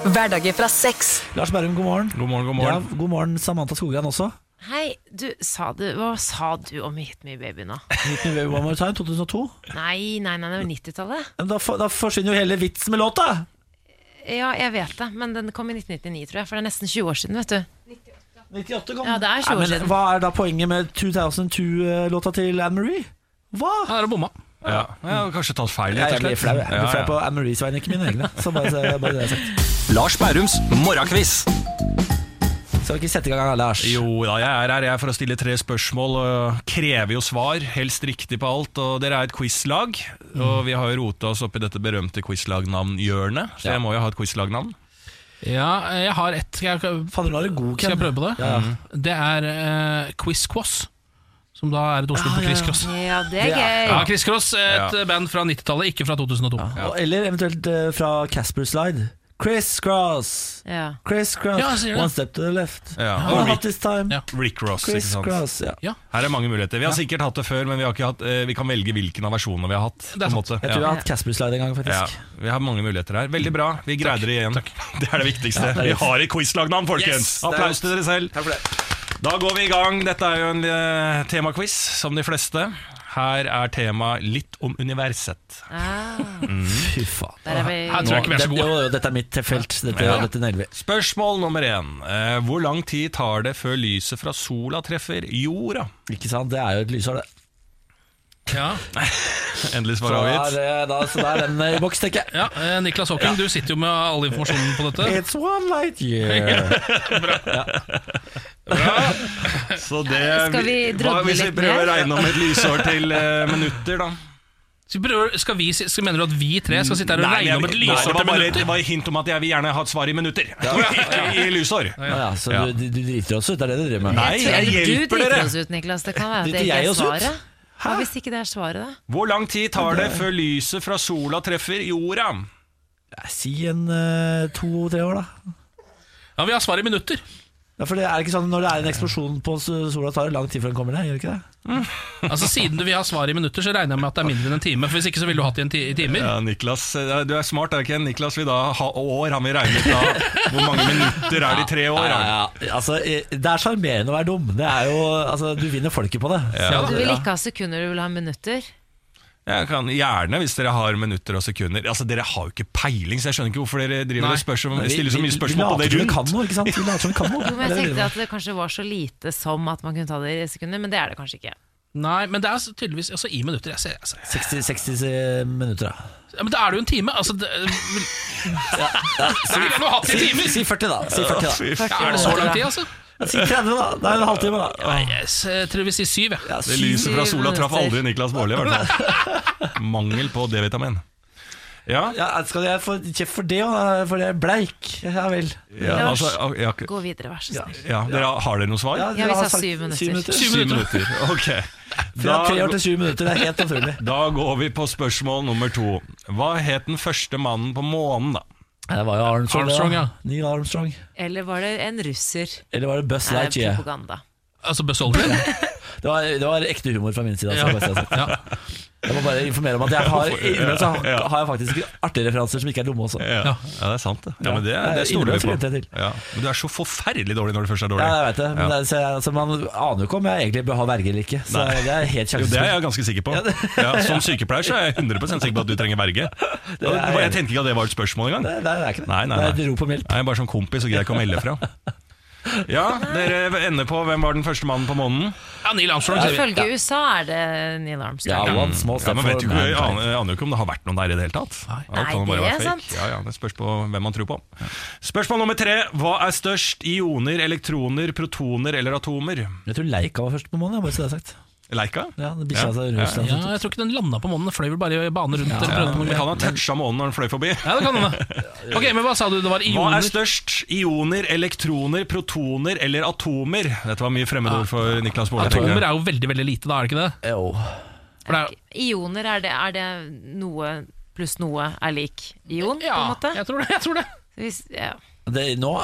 Hverdager fra seks. [LAUGHS] Lars Berrum, god morgen. God morgen, god Ja, god morgen, Samantha Skogran også. Hei, du, sa du, hva sa du om Hit Me Baby nå? Hit med Baby One More Time 2002. Nei, nei, nei, det var 90-tallet. Men Da, for, da forsvinner jo hele vitsen med låta! Ja, jeg vet det, men den kom i 1999, tror jeg. For det er nesten 20 år siden, vet du. 98 Ja, det er 20 Nei, år men siden. Hva er da poenget med 2002-låta eh, til Anne-Marie? Hva? Ja, dere bomma. Ja. Jeg har kanskje tatt feil. Jeg blir flau, jeg. Jeg blir Ja, flau ja. på Anne-Maries vegne, ikke mine egne. Så bare, så- bare det jeg har sagt. Lars Bærums morgenkviss. Skal vi ikke sette i gang, Lars? Jo da, jeg er her jeg er for å stille tre spørsmål. Og krever jo svar, helst riktig på alt. Og dere er et quizlag, Mm. og vi har jo rota oss opp i dette berømte quizlagnavnhjørnet, så jeg må jo ha et quizlagnavn. Ja, jeg har ett. Skal jeg, skal jeg prøve på det? Det er eh, Quiz Quoss. Som da er et ordspill Ah, på Chris Cross. Ja, det er Ja. gøy. Ja, Chris Cross, et eh, band fra 90-tallet, ikke fra 2002. Ja. Og- Eller eventuelt eh, fra Casper Slide. Chris Cross. Ja. Chris Cross. Ja, jeg sier det. One step to the left. Ja. One hot this time. Rick Ross, Chris ikke sant? Cross, ja. Ja. Her er mange muligheter. Vi har sikkert hatt det før, men vi, har ikke hatt, eh, vi kan velge hvilken av versjonene vi har hatt. Det er sant. Jeg tror jeg har hatt Casper Slide en gang, faktisk. Ja, vi har mange muligheter her. Veldig bra. Vi greide det igjen. [LAUGHS] Det er det viktigste. Ja, det er vi det. har et quizlagnavn, folkens! Yes, det er Applaus til dere selv. Da går vi i gang. Dette er jo en eh, temaquiz, som de fleste. Her er temaet litt om universet. Ah, Fy faen. der er vi Her tror jeg ikke vi er så Nå, gode. det- jo, jo, Dette er mitt felt. Dette, Ja. dette nailer vi. Spørsmål nummer én. Eh, Hvor lang tid tar det før lyset fra sola treffer jorda? Ikke sant? Det er jo et lysår, det. Ja. [LAUGHS] Endelig Så svar avgitt. da er, da, så da er den eh, i boks, tenker jeg. Ja, eh, Niklas Håking, du sitter jo med all informasjonen på dette. It's one light [LAUGHS] year. Så det Skal vi hva, drodle Hvis vi litt prøver å mer? regne om et lysår til eh, minutter, da? Så prøver, skal vi, si- skal, mener du at vi tre skal sitte her og regne jeg- om et nei, det lysår var til bare- minutter? Det var et hint om at jeg vil gjerne ha et svar [LAUGHS] i minutter, ikke i lysår. Ja, ja, så Ja. Du, du driter oss ut, det er det du driver med? Nei, tror- jeg eller hjelper Du driter dere. oss ut, Niklas. Det kan være at Driter det ikke jeg er oss ut? svaret. Hva hvis ikke det er svaret, da? Hvor lang tid tar det før lyset fra sola treffer jorda? Nei, Si en eh, to-tre år, da. Ja, vi har svar i minutter. Ja, for det er ikke sånn Når det er en eksplosjon på s- sola, tar det lang tid før den kommer ned? Gjør det ikke det? Altså Siden du vil ha svar i minutter, så regner jeg med at det er mindre enn en time. For Hvis ikke så ville du hatt det i en ti i timer. Ja, Niklas, eh, Du er smart, er du ikke? Niklas vil da ha år. Han vil regne ut da hvor mange minutter er det i tre år. Ja, han. ja, altså, eh, det er sjarmerende å være dum. Det er jo, altså, du vinner folket på det. Ja, Du vil ikke ha sekunder, du vil ha minutter. Jeg kan Gjerne hvis dere har minutter og sekunder. Altså, Dere har jo ikke peiling, så jeg skjønner ikke hvorfor dere driver Nei. og spørs om, Vi- stiller så vi- mye spørsmål på det Vi later som vi kan rundt. noe, ikke sant? Vi later som vi kan [LAUGHS] noe. Jo, Det er men Jeg det vi tenkte driver at det kanskje var så lite som at man kunne ta det i sekunder, men det er det kanskje ikke. Nei, men det er så tydeligvis altså, i minutter. Jeg ser, jeg ser. med. 60, 60 minutter, da. Ja, men da er det jo en time. Altså, det, vil- det ville jeg nå hatt i Si, timer! si 40, da. Si 40, da. Ja, er det så lang tid, altså? Si 30, da. Det er en halvtime, da. Nei, jeg s- jeg tror vi sier syv, jeg. Ja, Det syv- lyset fra sola traff minutter. aldri Niklas Baarli, i hvert fall. Mangel på D-vitamin. Ja, ja, skal jeg få kjeft for det, da? For jeg er bleik? Ja vel. ja, altså, ja, Gå videre, vær så snill. ja, dere, Har dere noe svar? Ja, Ja, dere vi har sa sagt syv minutter. Syv minutter. Ok. Fra Da- tre år til syv minutter, det er helt naturlig. Da går vi på spørsmål nummer to. Hva het den første mannen på månen, da? Det var jo Armstrong, Armstrong, det, da. ja. Neil Armstrong. Eller var det en russer? Eller var det Buzz Nei, det er Lightyear? propaganda. Altså Buzz Aldrin. Det var, det var ekte humor fra min side. Altså, bare så jeg sier. Ja. Jeg må bare informere om at jeg [LAUGHS] har, innimellom så har, har jeg faktisk artige referanser som ikke er dumme også. Ja, Ja, det er sant. det. Ja, men Det, Ja, det stoler vi innimellom på. glemte jeg til. Ja. Men du er så forferdelig dårlig når du først er dårlig. jeg vet det, men Ja. det, er- så, jeg- altså, Man aner jo ikke om jeg egentlig bør ha verge eller ikke. Så det er helt Jo, det er sjansespill. jeg ganske sikker på. Ja, som sykepleier så er jeg 100 sikker på at du trenger [LAUGHS] verge. er jeg Jeg tenkte ikke at det var et spørsmål engang. Nei, nei, det er ikke det. Nei, nei, Det nei. er et rop om hjelp. Nei, bare som kompis og greier ikke å melde fra. Ja, dere ender på hvem var den første mannen på månen? Ja, Neil Armstrong. sier vi. Ifølge USA er det Neil Ja, Armstrong. one small Ja, step men for vet jo ikke, jeg mankind. aner, jeg aner jo ikke om det har vært noen der i det hele tatt. Alt Nei, kan jo bare det være er fake. sant. Ja, ja, det spørs på hvem man tror på. Spørsmål nummer tre. Hva er størst? Ioner, elektroner, protoner eller atomer? Jeg tror Leica var først på månen, bare så det er sagt. Leika? Ja, den bikkja Ja. sa Russland. sånn Ja, jeg tror ikke den landa på månen. Den fløy vel bare i bane rundt. eller prøvde på noe Men greier. han har toucha månen når han fløy forbi. Ja, det [LAUGHS] kan hende. Ok, men hva sa du? Det var Hva ioner? er størst? Ioner, elektroner, protoner eller atomer? Dette var mye fremmedord for Niklas Baarli. tenker jeg. Atomer er jo veldig veldig lite, da, er det ikke det? Jo. For det er, Ioner, er det, er det noe pluss noe er lik ion, på en måte? jeg tror det. jeg tror det Hvis, ja. Det, nå,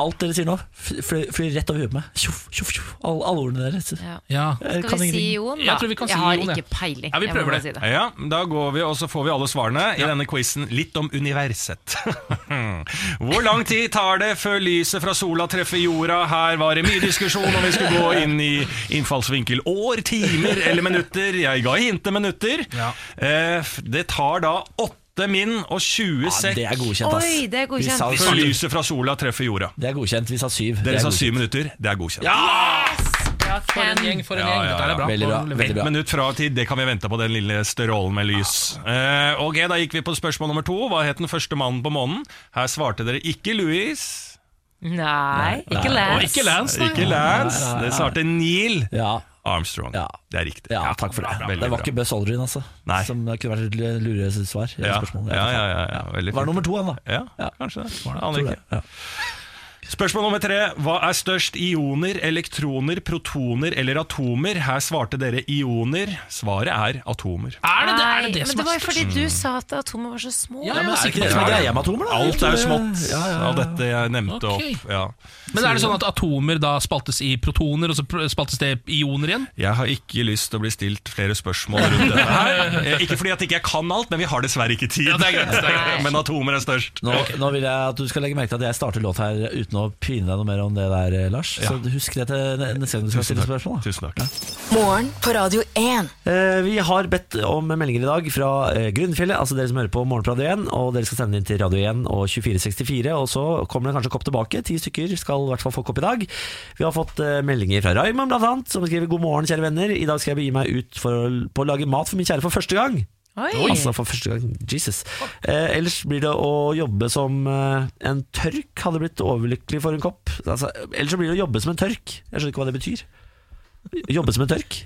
alt dere sier nå, fly- flyr rett over huet på meg. Tjoff, tjoff, tjoff. Alle, alle ordene deres. Jeg Skal kan vi si ingenting. Jon, da? Jeg tror vi kan si har Jon, ja. ikke peiling. Ja, vi jeg må prøver det. bare si det. Ja, da går vi, og så får vi alle svarene i denne quizen litt om universet. [LAUGHS] Hvor lang tid tar det før lyset fra sola treffer jorda? Her var det mye diskusjon om vi skulle gå inn i innfallsvinkel år, timer eller minutter. Jeg ga hintet minutter. Eh, f- Det tar da åtte min og 20 sekk. det er godkjent, ass. Oi, det er godkjent. Vi sa Før syv. lyset fra sola treffer jorda. Det er godkjent. Vi sa syv. Dere Det er sa godkjent. syv minutter. Det er godkjent. For en gjeng, for en gjeng. Dette er bra. Veldig bra, Nå leverer veldig Ett bra. minutt fra tid, det kan vi vente på den lille størrollen med lys. Eh, ok, Da gikk vi på spørsmål nummer to. Hva het den første mannen på månen? Her svarte dere ikke Louis. Nei, ikke Og Lance. ikke Lance, nei. Ikke Lance. Nei, nei, nei. Det svarte Neil Armstrong. Det er riktig. Ja, takk for det. Bra, bra, veldig det var bra. ikke Buzz Aldrin, altså. Nei. Som det kunne vært et lure svar. i det Ja, spørsmålet. ja, ja, ja, ja, veldig Var fint. nummer to, han, da. Ja, kanskje det. det, Aner tror ikke. det, ja. Spørsmål nummer tre. Hva er størst? Ioner, elektroner, protoner eller atomer? Her svarte dere ioner. Svaret er atomer. Er det det, er det, Nei, det men som det var er jo fordi du sa at atomer var så små. Ja, ja, men men er sikkert- ikke det som er greia med atomer, da? Alt er jo Jeg tror det- smått ja, ja, ja. av dette jeg nevnte Ok. opp. Ja. Men er det sånn at atomer da spaltes i protoner, og så pr- spaltes det i ioner igjen? Jeg har ikke lyst til å bli stilt flere spørsmål rundt dette her. Eh, Ikke fordi at ikke jeg kan alt, men vi har dessverre ikke tid. men atomer er størst. Nå, nå vil jeg at du skal legge merke til at jeg starter låt her uten å pine deg noe mer om det der, eh, Lars. Ja. Så husk det til ne- neste gang du skal stille spørsmål. Tusen takk. Morgen på Radio 1. Eh, Vi har bedt om meldinger i dag fra eh, Grunnfjellet, altså dere som hører på Morgen på Radio 1. Og dere skal sende inn til Radio 1 og 2464, og så kommer det kanskje en kopp tilbake. Ti stykker skal i hvert fall få kopp i dag. Vi har fått eh, meldinger fra Raymond blant annet, som skriver 'God morgen, kjære venner'. I dag skal jeg begi meg ut for, å- på å lage mat for min kjære for første gang. Oi. Altså for første gang, Jesus eh, Ellers blir det å jobbe som eh, en tørk Hadde blitt overlykkelig for en kopp altså, Ellers så blir det å jobbe som en tørk Jeg skjønner ikke hva det betyr Jobbe som en tørk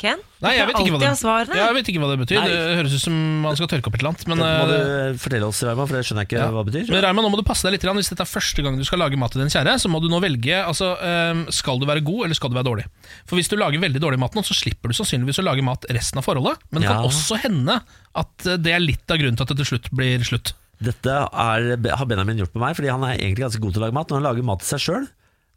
Ken? Nei, jeg Du vet kan ikke hva det, alltid ha svarene. Ja, jeg vet ikke hva det betyr. Nei. Det høres ut som man skal tørke opp et eller annet. Men, Dette må eh, du fortelle oss, Raima, for det skjønner jeg ikke hva det betyr men Raymond, nå må du passe deg litt. grann. Hvis dette er første gang du skal lage mat til din kjære, så må du nå velge altså, eh, skal du være god eller skal du være dårlig. For hvis du lager veldig dårlig mat nå, så slipper du sannsynligvis å lage mat resten av forholdet. Men det Ja. kan også hende at eh, det er litt av grunnen til at det til slutt blir slutt. Dette er, har Benjamin gjort på meg, fordi han er egentlig ganske god til å lage mat Når han lager mat til seg selv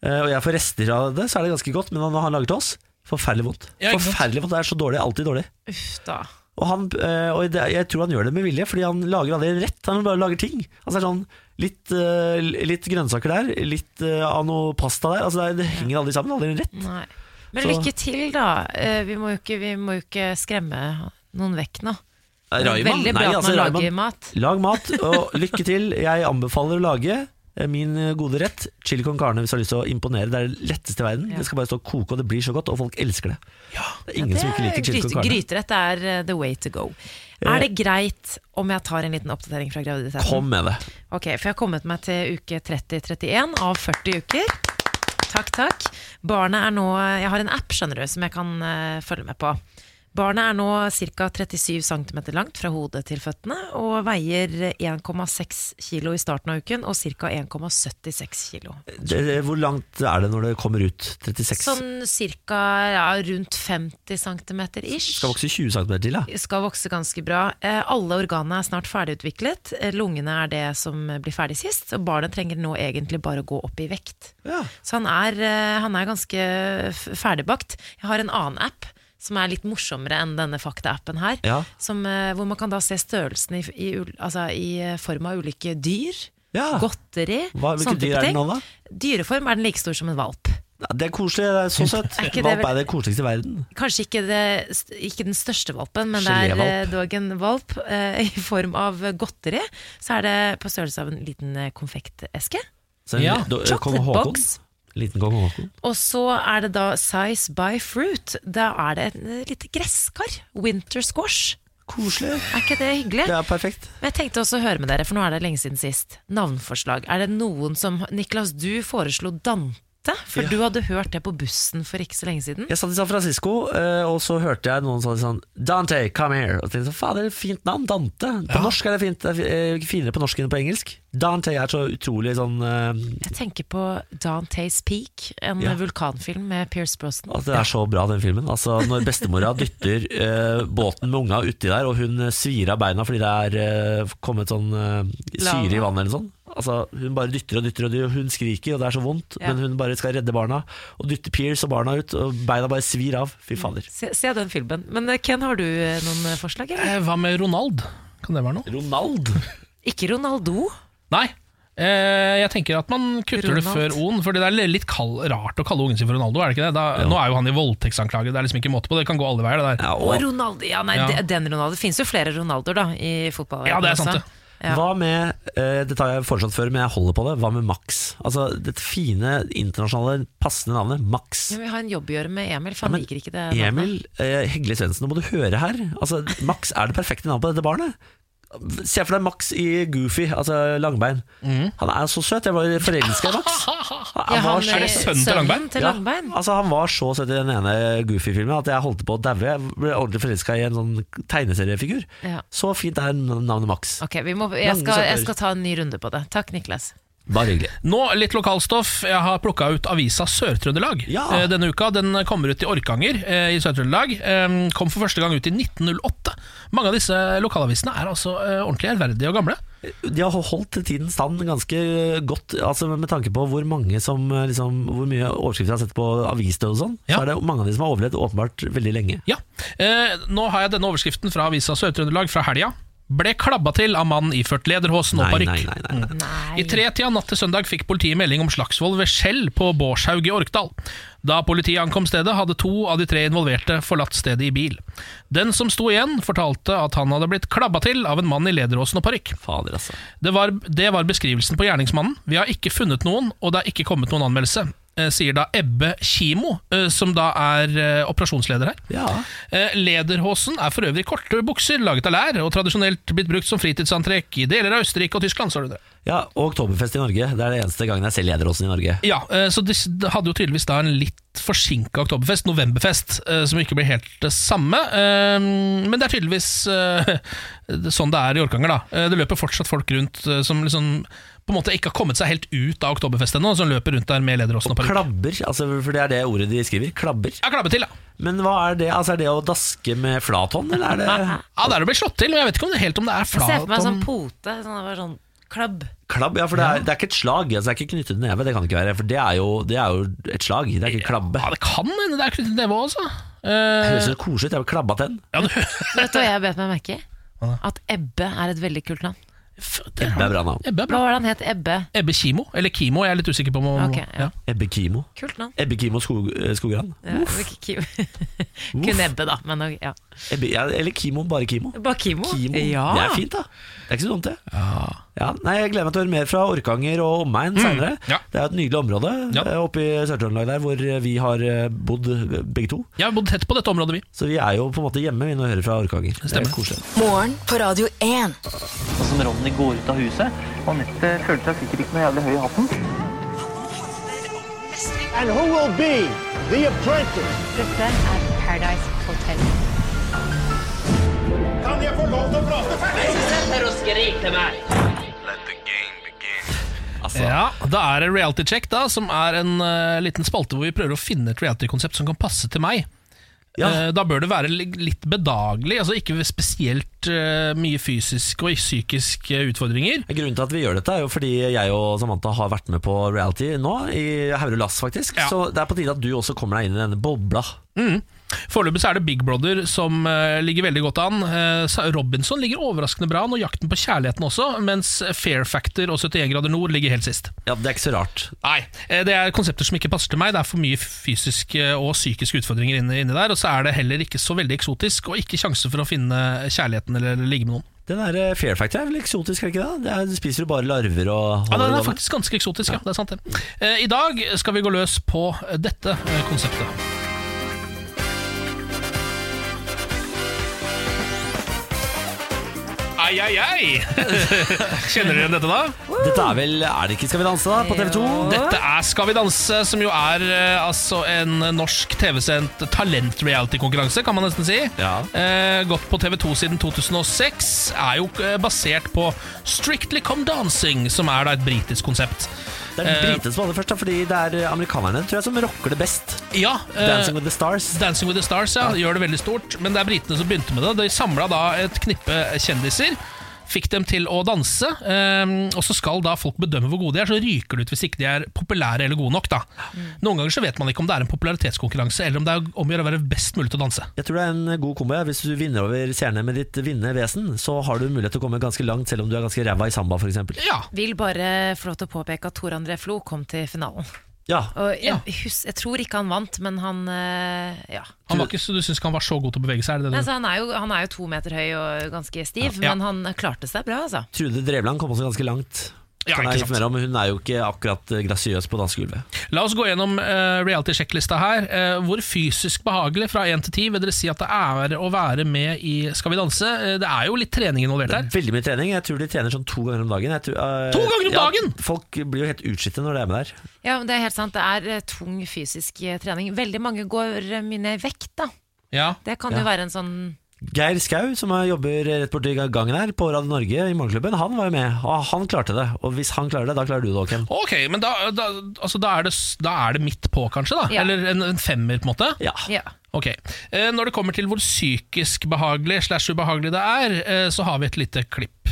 eh, Og jeg får rester av det, så er det ganske godt Men når han lager til oss, forferdelig vondt Ja, ikke sant? Forferdelig vondt, det er så dårlig, alltid dårlig Uff da. Og, han, eh, og det, jeg tror han gjør det med vilje, fordi han lager aldri rett. Han bare lager ting. Altså det er sånn Litt, eh, litt grønnsaker der, litt eh, av noe pasta der. Altså det, er, det henger aldri sammen. Aldri rett. Nei. Men Så- lykke til, da. Eh, Vi må jo ikke, vi må jo ikke skremme noen vekk nå. Det er Raymond? Veldig bra Nei, at altså, man Raymond. lager mat. Lag mat, og lykke til. Jeg anbefaler å lage eh, min gode rett. Chili con carne hvis du har lyst til å imponere. Det er det letteste i verden. Ja. Det skal bare stå og koke, og det blir så godt, og folk elsker det. Det er ingen som ikke liker chili Gryte- con carne. Gryterett er eh, the way to go. Eh. Er det greit om jeg tar en liten oppdatering fra graviditeten? Kom med det. Ok, for jeg har kommet meg til uke 30-31 av 40 uker. Takk, takk. Barnet er nå Jeg har en app, skjønner du, som jeg kan eh, følge med på. Barnet er nå ca. 37 cm langt fra hodet til føttene og veier 1,6 kg i starten av uken og ca. 1,76 kg. Det, det, hvor langt er det når det kommer ut? 36? Sånn ca. Ja, rundt 50 cm ish. Skal vokse 20 cm til, ja. Skal vokse ganske bra. Eh, Alle organene er snart ferdigutviklet. Eh, Lungene er det som blir ferdig sist, og barnet trenger nå egentlig bare å gå opp i vekt. Så han er, eh, han er ganske f- ferdigbakt. Jeg har en annen app som er litt morsommere enn denne fakta-appen her. Ja. Som, eh, hvor man kan da se størrelsen i, i, ul- altså, i eh, form av ulike dyr. Ja. Godteri. Hva- hvilke sånne Sånn type dyr er den ting. nå, da? Dyreform er den like stor som en valp. Ja, Det er koselig, det er så søtt. Er ikke det Valp vel- er det koseligste i verden. Kanskje ikke, det, ikke den største valpen, men det er eh, Gelévalp. dog en valp eh, i form av godteri. Så er det på størrelse av en liten eh, konfekteske. Så en li- do- eh, kong Chocolate Haakon. box. Liten kong Haakon. Og så er det da size by fruit. Da er det et eh, lite gresskar. Winter squash. Koselig. Er ikke det hyggelig? Det er perfekt. Men jeg tenkte også å høre med dere, for nå er det lenge siden sist. Navnforslag. Er det noen som Niklas, du foreslo Dante, for Ja. du hadde hørt det på bussen for ikke så lenge siden. Jeg satt i San Francisco, eh, og så hørte jeg noen sånn, sånn Dante, come here. Og tenkte sånn, faen, det er et fint navn. Dante. På norsk er det fint. Det er fi- eh, finere på norsk enn på engelsk. Dante er så utrolig sånn eh, Jeg tenker på Dante's Peak, en Ja. vulkanfilm med Pierce Brosnan. At det er så bra, den filmen. Altså Når bestemora dytter eh, båten med unga uti der, og hun svir av beina fordi det er eh, kommet sånn eh, syre i vannet eller sånn. Altså, hun bare dytter og dytter, og dytter, og hun skriker, og det er så vondt. Ja. Men hun bare skal redde barna, og dytter Pierce og barna ut, og beina bare svir av. Fy fader. Se, se den filmen. Men eh, Ken, har du eh, noen eh, forslag? Eller? Eh, Hva med Ronald? Kan det være noe? Ronald? Ikke Ronaldo. Nei. Eh, jeg tenker at man kutter det Ronald. før O-en, for det er litt kall, rart å kalle ungen sin for Ronaldo. er det ikke det? Da, Nå er jo han i voldtektsanklage, det er liksom ikke måte på. Det kan gå alle veier. det der Og Ronaldo. Ja, nei, Ja. de- den Ronaldo. Det finnes jo flere Ronaldoer da, i fotball. Ja, det er sant, det. Ja. Hva med eh, Dette har jeg foreslått før, men jeg holder på det. Hva med Max? Altså Dette fine, internasjonale, passende navnet Max. Ja, Vi har en jobb å gjøre med Emil, for han liker ikke det. navnet. Emil eh, Hegle Svendsen, nå må du høre her. Altså, Max er det perfekte navnet på dette barnet. Se for deg Max i Goofy, altså Langbein. Han er så søt. Jeg var forelska i [LAUGHS] Max. Ja, var han så- er Er det sønnen til sønnen Langbein? til Langbein? Ja, altså, han var så søt i den ene Goofy-filmen at jeg holdt på å daue. Jeg ble ordentlig forelska i en sånn tegneseriefigur. Ja. Så fint er navnet Max. Ok, vi må, jeg, Lange skal, jeg søtter. skal ta en ny runde på det. Takk, Niklas. Bare hyggelig. Nå litt lokalstoff. Jeg har plukka ut avisa Sør-Trøndelag eh, denne uka. Den kommer ut i Orkanger eh, i Sør-Trøndelag. Eh, kom for første gang ut i 1908. Mange av disse lokalavisene er altså eh, ordentlig ærverdige og gamle. De har holdt tiden stand ganske godt, altså med tanke på hvor mange som eh, liksom, Hvor mye overskrifter jeg har sett på avisdød og sånn. Så er det mange av de som har overlevd åpenbart veldig lenge. Ja, eh, Nå har jeg denne overskriften fra avisa Sør-Trøndelag fra helga. Ble klabba til av mannen iført lederhosen og Nei, nei, parykk. nei, nei, nei. Mm. I tretida natt til søndag fikk politiet melding om slagsvold ved Skjell på Bårshaug i Orkdal. Da politiet ankom stedet, hadde to av de tre involverte forlatt stedet i bil. Den som sto igjen, fortalte at han hadde blitt klabba til av en mann i lederåsen og parykk. Fader, altså. Det var, det var beskrivelsen på gjerningsmannen. Vi har ikke funnet noen, og det er ikke kommet noen anmeldelse. eh, Sier da Ebbe Kimo, eh, som da er eh, operasjonsleder her. Eh, Lederhosen er for øvrig korte bukser laget av lær, og tradisjonelt blitt brukt som fritidsantrekk i deler av Østerrike og Tyskland. Så er det det. Ja, og Oktoberfest i Norge. Det er det eneste gangen jeg ser lederåsen i Norge. Ja, eh, så de s- de hadde jo tydeligvis da en litt forsinka oktoberfest, novemberfest, eh, som ikke blir helt det samme. Eh, Men det er tydeligvis eh, [LAUGHS] det- sånn det er i Orkanger, da. Eh, Det løper fortsatt folk rundt eh, som liksom på en måte ikke har kommet seg helt ut av oktoberfest ennå, som løper rundt der med lederåsen og parykk. Klabber, altså, for det er det ordet de skriver. Klabber. Ja, klabbe til, ja. Men hva er det? Altså, er det å daske med flat hånd, eller er det [LAUGHS] Ja, der det blir slått til, men jeg vet ikke om det helt om det er Jeg ser for meg en sånn flat pote. Sånn, det var sånn klubb. Klabb, ja, for det er, det er ikke et slag. Altså, det er ikke knyttet neve, det kan det ikke være. For det er jo, det er jo et slag, det er ikke klabbe. Ja, det kan hende det er knyttet neve òg, altså. Det Eh, høres så koselig ut. Jeg har klabba tenn. Vet du hva jeg bet meg merke i? Hva At Ebbe er et veldig kult navn. Ebbe er bra navn. Ebbe er Hva bra. var det han het? Ebbe? Ebbe Kimo, eller Kimo, jeg er litt usikker på om Ok, ja. Ebbe Kimo. Kult navn. Ebbe Kimo skog, eh, Skogran. Ja, ikke [LAUGHS] Kim. Kun Ebbe, da. Men ok, ja. Ebbe, ja, eller Kimo, bare Kimo. Bare Kimo. Kimo. Ja. Det er fint, da. Det er ikke så dumt, det. Ja, Mm. nei, jeg gleder meg til å høre mer fra Orkanger og omegn senere. Det er jo et nydelig område eh, oppe i Sør-Trøndelag der hvor vi har eh, bodd eh, begge to. Jeg har bodd tett på dette området, vi. Så vi er jo på en måte hjemme vi nå hører fra Orkanger. Det er koselig. Morgen på Radio 1. Og sånn som Ronny går ut av huset. Anette følte seg sikkert ikke noe jævlig høy i hatten. And who will be the apprentice? Dette er Paradise Hotel. Kan jeg få lov til å prate Ja, Da er det Reality Check, da, som er en eh, liten spalte hvor vi prøver å finne et reality-konsept som kan passe til meg. Eh, da bør det være li- litt bedagelig, altså ikke spesielt eh, mye fysiske og psykiske utfordringer. Grunnen til at vi gjør dette er jo fordi jeg og Samantha har vært med på reality nå, i Haurud Lass faktisk. Så det er på tide at du også kommer deg inn i denne bobla. Mm. Foreløpig så er det Big Brother som eh, ligger veldig godt an. Eh, Sa- Robinson ligger overraskende bra an, og Jakten på kjærligheten også, mens Fair Factor og 71 grader nord ligger helt sist. Ja, Det er ikke så rart. Nei, eh, det er konsepter som ikke passer til meg. Det er for mye fysiske og psykiske utfordringer inne, inne der. Og så er det heller ikke så veldig eksotisk, og ikke sjanse for å finne kjærligheten eller ligge med noen. Den der eh, Fair Factor er vel eksotisk, er det ikke det? det er, du spiser jo bare larver og Ja, Den er faktisk ganske eksotisk, ja. Det er sant, det. Eh, I dag skal vi gå løs på dette eh, konseptet. Ai, ai, ai! [LAUGHS] Kjenner dere igjen dette, da? Dette er vel Er det ikke Skal vi danse, da? På TV 2? Dette er Skal vi danse, som jo er eh, altså en norsk TV-sendt talent-reality-konkurranse, kan man nesten si. Eh, gått på TV 2 siden 2006. Er jo eh, basert på Strictly Come Dancing, som er da et britisk konsept. Det er Eh, britene som hadde først, da, fordi det er amerikanerne tror jeg som rocker det best. Ja, eh, Dancing with the Stars. Dancing with the Stars, ja, Gjør det veldig stort. Men det er britene som begynte med det. De samla da et knippe kjendiser. Fikk dem til å danse, eh, og så skal da folk bedømme hvor gode de er. Så ryker det ut hvis ikke de er populære eller gode nok. da Noen ganger så vet man ikke om det er en popularitetskonkurranse, eller om det er om å gjøre å være best mulig til å danse. Jeg tror det er en god kombo. ja. Hvis du vinner over seerne med ditt vinnende vesen, så har du mulighet til å komme ganske langt, selv om du er ganske ræva i samba, f.eks. Vil bare få lov til å påpeke at Tor André Flo kom til finalen. Ja. Og jeg, hus, jeg tror ikke han vant, men han eh, ja. Han var ikke, så Du Altså- syns ikke han var så god til å bevege seg? Er det Nei, det du? så han, er jo, han er jo to meter høy og ganske stiv, Mm. Ja. men han klarte seg bra, altså. Trude Drevland kom også ganske langt. Ja, kan ikke jeg sant. informere om, Hun er jo ikke akkurat eh, grasiøs på dansegulvet. La oss gå gjennom eh, reality-sjekklista her. Eh, hvor fysisk behagelig fra 1 til 10 vil dere si at det er å være med i Skal vi danse? Eh, det er jo litt trening involvert her. Veldig mye trening. Jeg tror de trener sånn to ganger om dagen. Jeg tror, eh, To ganger om ja, dagen? Folk blir jo helt utslitte når de er med der. Ja, men Det er helt sant, det er eh, tung fysisk eh, trening. Veldig mange går eh, mye ned i vekt, da. Det kan Ja. jo være en sånn Geir Skau, som er- jobber rett borti gangen her på Radio Norge i Morgenklubben, han var jo med. Og han klarte det. Og hvis han klarer det, da klarer du det, Håken. Ok, men da, da, altså, da, er det, s- da er det midt på, kanskje? da? Ja. Eller en, en femmer, på en måte? Ja. Ok, eh, Når det kommer til hvor psykisk behagelig slash ubehagelig det er, eh, så har vi et lite klipp.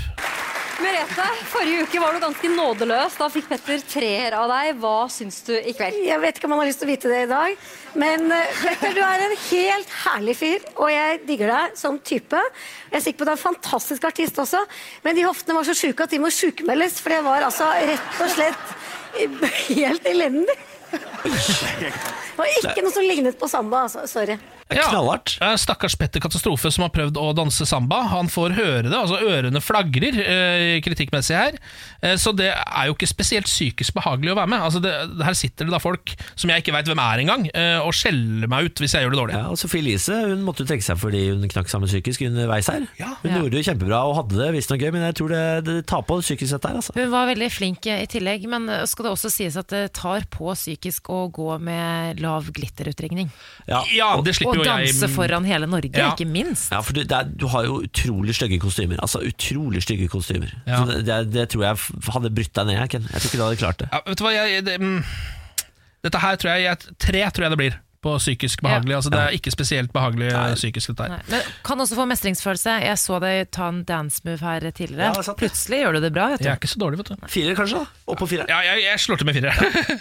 Merete, forrige uke var du ganske nådeløs. Da fikk Petter treer av deg. Hva syns du i kveld? Jeg vet ikke om han har lyst til å vite det i dag, men eh, Petter, du er en helt herlig fyr, og jeg digger deg som type. Jeg er sikker på at du er en fantastisk artist også, men de hoftene var så sjuke at de må sjukmeldes, for det var altså rett og slett [LAUGHS] eh, helt elendig. Det var ikke noe som lignet på samba, altså. Sorry. Ja. Eh, Stakkars Petter Katastrofe som har prøvd å danse samba. Han får høre det, altså ørene flagrer eh, kritikkmessig her. Eh, så det er jo ikke spesielt psykisk behagelig å være med. Altså det, her sitter det da folk som jeg ikke veit hvem er engang, eh, og skjeller meg ut hvis jeg gjør det dårlig. Ja, og Sophie Elise hun måtte jo trekke seg fordi hun knakk sammen psykisk underveis her. hun Ja. gjorde det jo kjempebra og hadde det visstnok gøy, men jeg tror det, det tar på psykisk sett der. Altså. Hun var veldig flink eh, i tillegg, men eh, skal det også sies at det tar på psykisk å gå med lav glitterutringning. Ja, og det Og danse foran hele Norge, Ja. ikke minst. Ja, for du, det er, du har jo utrolig stygge kostymer. Altså utrolig stygge kostymer. Ja. Så det, det, det tror jeg f- hadde brutt deg ned, jeg, Ken. Jeg tror ikke du hadde klart det. Ja, vet du hva, jeg, det, mm, dette her tror jeg, jeg Tre tror jeg det blir på psykisk behagelig. Altså Det er ikke spesielt behagelig eh, psykisk, dette her. Nei, Men kan også få mestringsfølelse. Jeg så deg ta en dance move her tidligere. Ja, det er sant, ja. Plutselig gjør du det bra. Vet du. Jeg er ikke så dårlig, vet du. Fire, kanskje? da? Opp på fire? Ja, jeg, jeg slår til med fire. [LAUGHS]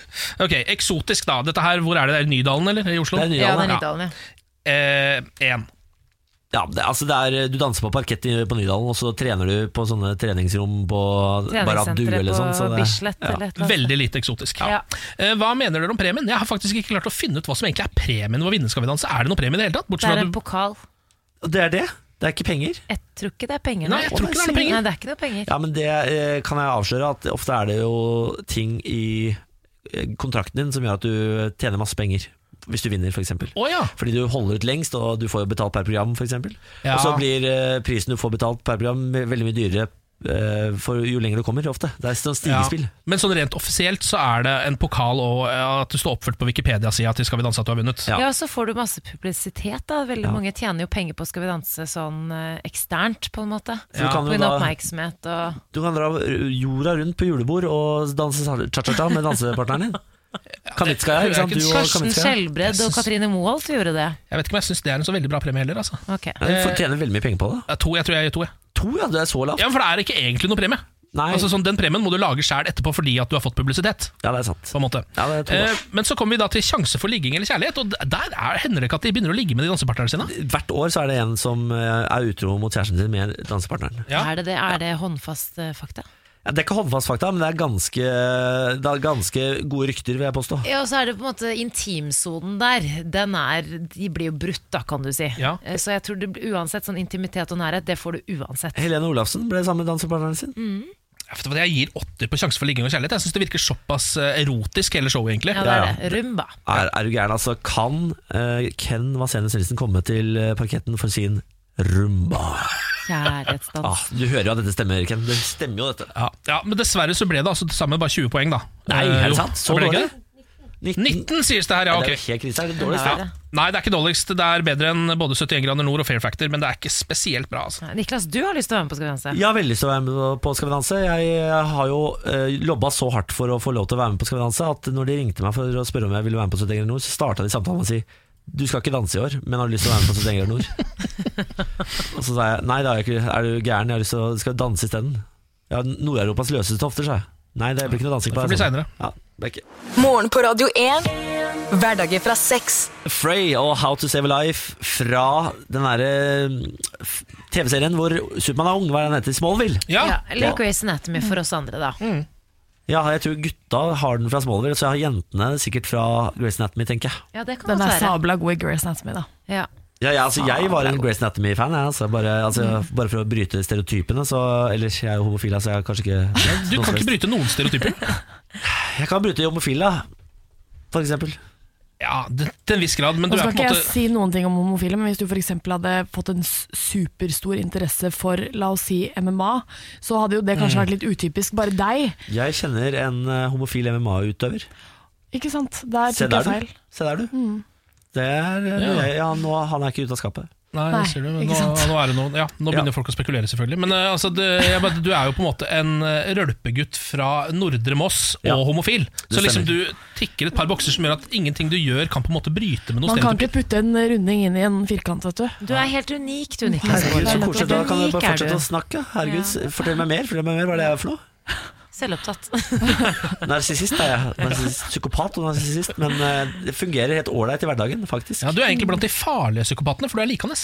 ok, Eksotisk, da. Dette her, Hvor er det? det er i Nydalen, eller? I Oslo? Det er Nydalen, Ja, det er ja. Nydalen, Én. Ja, det, altså det er, Du danser på parkett i- på Nydalen, og så trener du på sånne treningsrom på Baradu Treningssenteret eller på sånn. så det- Bislett eller et eller annet. Veldig lite eksotisk. Ja. Eh, Hva mener dere om premien? Jeg har faktisk ikke klart å finne ut hva som egentlig er premien ved å vinne Skal vi danse. Er det noen premie i det hele tatt? Det Bortsett er fra en at du pokal. Det er det? Det er ikke penger? Jeg tror ikke det er penger. Nei, jeg tror ikke det er noe penger. Nei, det er ikke noe penger. Ja, men det eh, kan jeg avsløre at ofte er det jo ting i eh, kontrakten din som gjør at du tjener masse penger. Hvis du vinner, f.eks. For eksempel. Å, ja. Fordi du holder ut lengst, og du får jo betalt per program, f.eks. eksempel Ja. Og så blir eh, prisen du får betalt per program, veldig mye dyrere eh, for jo lenger du kommer, ofte. Det er sånn stigespill. Ja. Men sånn rent offisielt så er det en pokal og eh, at du står oppført på Wikipedia-sida til Skal vi danse at du har vunnet. Ja, så får du masse publisitet. da Veldig mange tjener jo penger på Skal vi danse sånn eh, eksternt, på en måte. Så du kan jo På grunn da- av oppmerksomhet og Du kan dra jorda rundt på julebord og danse cha-cha-cha med dansepartneren din. Kanitskaja, ikke sant? Du og Karsten Kanitskaja. Skjelbred og Katrine Moholt gjorde det. Jeg vet ikke om jeg syns det er en så veldig bra premie heller. Altså. Ok. Ja, Du får tjene veldig mye penger på det. Ja, To, jeg tror jeg gir to. Jeg. To, ja, det er så lavt. Ja, men For det er ikke egentlig noe premie. Altså sånn, Den premien må du lage sjæl etterpå fordi at du har fått publisitet. Ja, det er sant. På en måte. Ja, det er to, da. Eh, men så kommer vi da til sjanse for ligging eller kjærlighet, og d- der er, hender det ikke at de begynner å ligge med de dansepartnerne sine. Hvert år så er det en som eh, er utro mot kjæresten sin med dansepartneren. Er det det? Er det håndfast eh, fakta? Ja, det er ikke håndfast fakta, men det er ganske, det er ganske gode rykter, vil jeg påstå. Ja, og så er det på en måte intimsonen der. Den er, de blir jo brutt, da, kan du si. Ja. Eh, Så jeg tror det, blir- uansett sånn intimitet og nærhet, det får du uansett. Helene Olafsen ble sammen med dansepartneren sin. Mm. Ja, vet du hva, Jeg gir åtter på sjanse for ligging og kjærlighet. Jeg syns det virker såpass eh, erotisk, hele showet, egentlig. Ja, det er det. Rumba. Er, er du gæren? Altså, kan eh, Ken Vasenius Nilsen komme til eh, parketten for sin rumba? Kjærlighetsdans. Ah, du hører jo at dette stemmer, Ken. Det stemmer jo, dette. Ja, ja, Men dessverre så ble det altså til sammen bare 20 poeng, da. Nei, Eh, er jo, det sant? Så ble det dårlig? ikke det? 19, sies det her, ja. Ja, ok det er jo helt krise. Er det dårligst? Ja. Nei, det er ikke dårligst. Det er bedre enn både 71 grader nord og Fair Factor, men det er ikke spesielt bra. Ah. Altså. Eh, Niklas, du har lyst til å være med på Skal vi danse? Jeg har veldig lyst til å være med på Skal vi danse. Jeg har jo eh, lobba så hardt for å få lov til å være med på Skal vi danse at når de ringte meg for å spørre om jeg ville være med på 71 grader nord, så starta de samtalen med å si du skal ikke danse i år, men har du lyst til å være med på 71 [LAUGHS] grader nord? og så sa jeg nei, det har jeg ikke. Er du gæren? Jeg har lyst til å skal danse isteden. Ja, Nord-Europas løseste hofter, sa jeg. Nei, det blir ikke noe dansing på Det får bli senere. Ja, det er ikke. Morgen på Radio 1. Hverdager fra seks. Frey og How to Save a Life fra den derre eh, f- TV-serien hvor Supermann er ung, hva er den heter? Smallville? Ja, eller Grey's Anatomy for oss andre, da. Mm. Ja, jeg tror gutta har den fra Smallville, så jeg har jentene sikkert fra Grace Anatomy, tenker jeg. Ja, det kan Den godt er være. sabla god i Grey's Anatomy, da. Ja. Ja, ja, altså, jeg var en Grace Anatomy-fan, jeg, altså, bare, altså, bare for å bryte stereotypene. Så, ellers jeg er jo homofil, så jeg har kanskje ikke Du kan ikke bryte noen [LAUGHS] stereotyper. Jeg kan bryte homofil, da. For eksempel. Ja, det- til en viss grad, men Nå du er skal på en ikke jeg måte si noen ting om homofile, men hvis du f.eks. hadde fått en s- superstor interesse for, la oss si, MMA, så hadde jo det kanskje Mm. vært litt utypisk bare deg. Jeg kjenner en eh, homofil MMA-utøver. Ikke sant? Der Se tok der, jeg feil. du. Se der, du. Mm. Det er, eh, Ja. jeg, ja, nå, han er ikke ute av skapet. Nei, Nei, det ser du, men ikke nå, sant? nå, er det noen, ja, nå begynner folk å spekulere, selvfølgelig. Men eh, altså, det, jeg, bare- du er jo på en måte en eh, rølpegutt fra Nordre Moss og Ja. homofil. Det Så liksom stemmer. du tikker et par bokser som gjør at ingenting du gjør, kan på en måte bryte med noen Man kan stereotyper. ikke putte en runding inn i en firkant, vet du. Du er helt unik, du, Niklas. Herregud, så Baarli. koselig. Da kan du Unik bare er fortsette å snakke. Herregud, Ja. s- Fortell meg mer, fortell meg mer, hva er det jeg er for noe? Selvopptatt. Narsissist er jeg. Narsissist, psykopat og narsissist. Men eh, det fungerer helt ålreit i hverdagen, faktisk. Ja, du er egentlig blant de farlige psykopatene, for du er likende.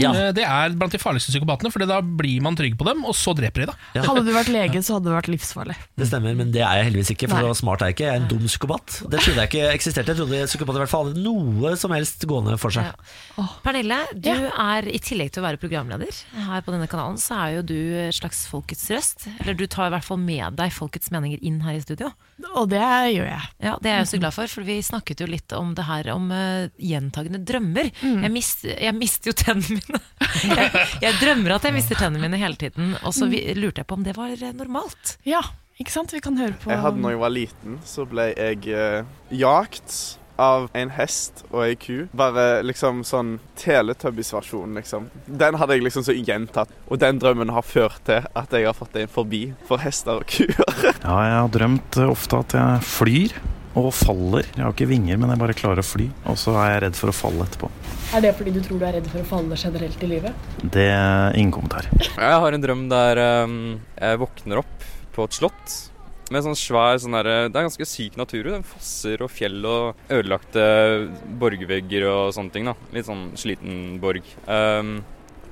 Ja. Eh, Det er blant de farligste psykopatene, for da blir man trygg på dem, og så dreper de deg. Ja. Hadde du vært lege, så hadde det vært livsfarlig. Det stemmer, men det er jeg heldigvis ikke, for Nei. så smart er jeg ikke. Jeg er en dum psykopat. Det trodde jeg ikke eksisterte. Jeg trodde psykopater i hvert fall hadde noe som helst gående for seg. Ja. Pernille, du er i tillegg til å være programleder her på denne kanalen, så er jo du et slags folkets røst. Eller du tar i hvert fall med deg folkets meninger inn her i studio. Og det gjør jeg. Ja, Det er jeg jo så glad for, for vi snakket jo litt om det her om eh, gjentagende drømmer. Jeg, mist, jeg mister jo tennene mine. [LAUGHS] Jeg, jeg drømmer at jeg mister tennene mine hele tiden, og så vi, lurte jeg på om det var eh, normalt. Ja, ikke sant? Vi kan høre på Jeg hadde når jeg var liten, så ble jeg eh, jagt av en hest og ei ku. Bare liksom sånn Teletubbies-versjon, liksom. Den hadde jeg liksom så gjentatt. Og den drømmen har ført til at jeg har fått en forbi for hester og kuer. Ja, jeg har drømt eh, ofte at jeg flyr og faller. Jeg har ikke vinger, men jeg bare klarer å fly. Og så er jeg redd for å falle etterpå. Er det fordi du tror du er redd for å falle generelt i livet? Det er ingen kommentar. Jeg har en drøm der ehm, jeg våkner opp på et slott med sånn svær sånn derre Det er ganske syk natur. jo. Det er Fosser og fjell og ødelagte borgvegger og sånne ting. da. Litt sånn sliten borg. Ehm,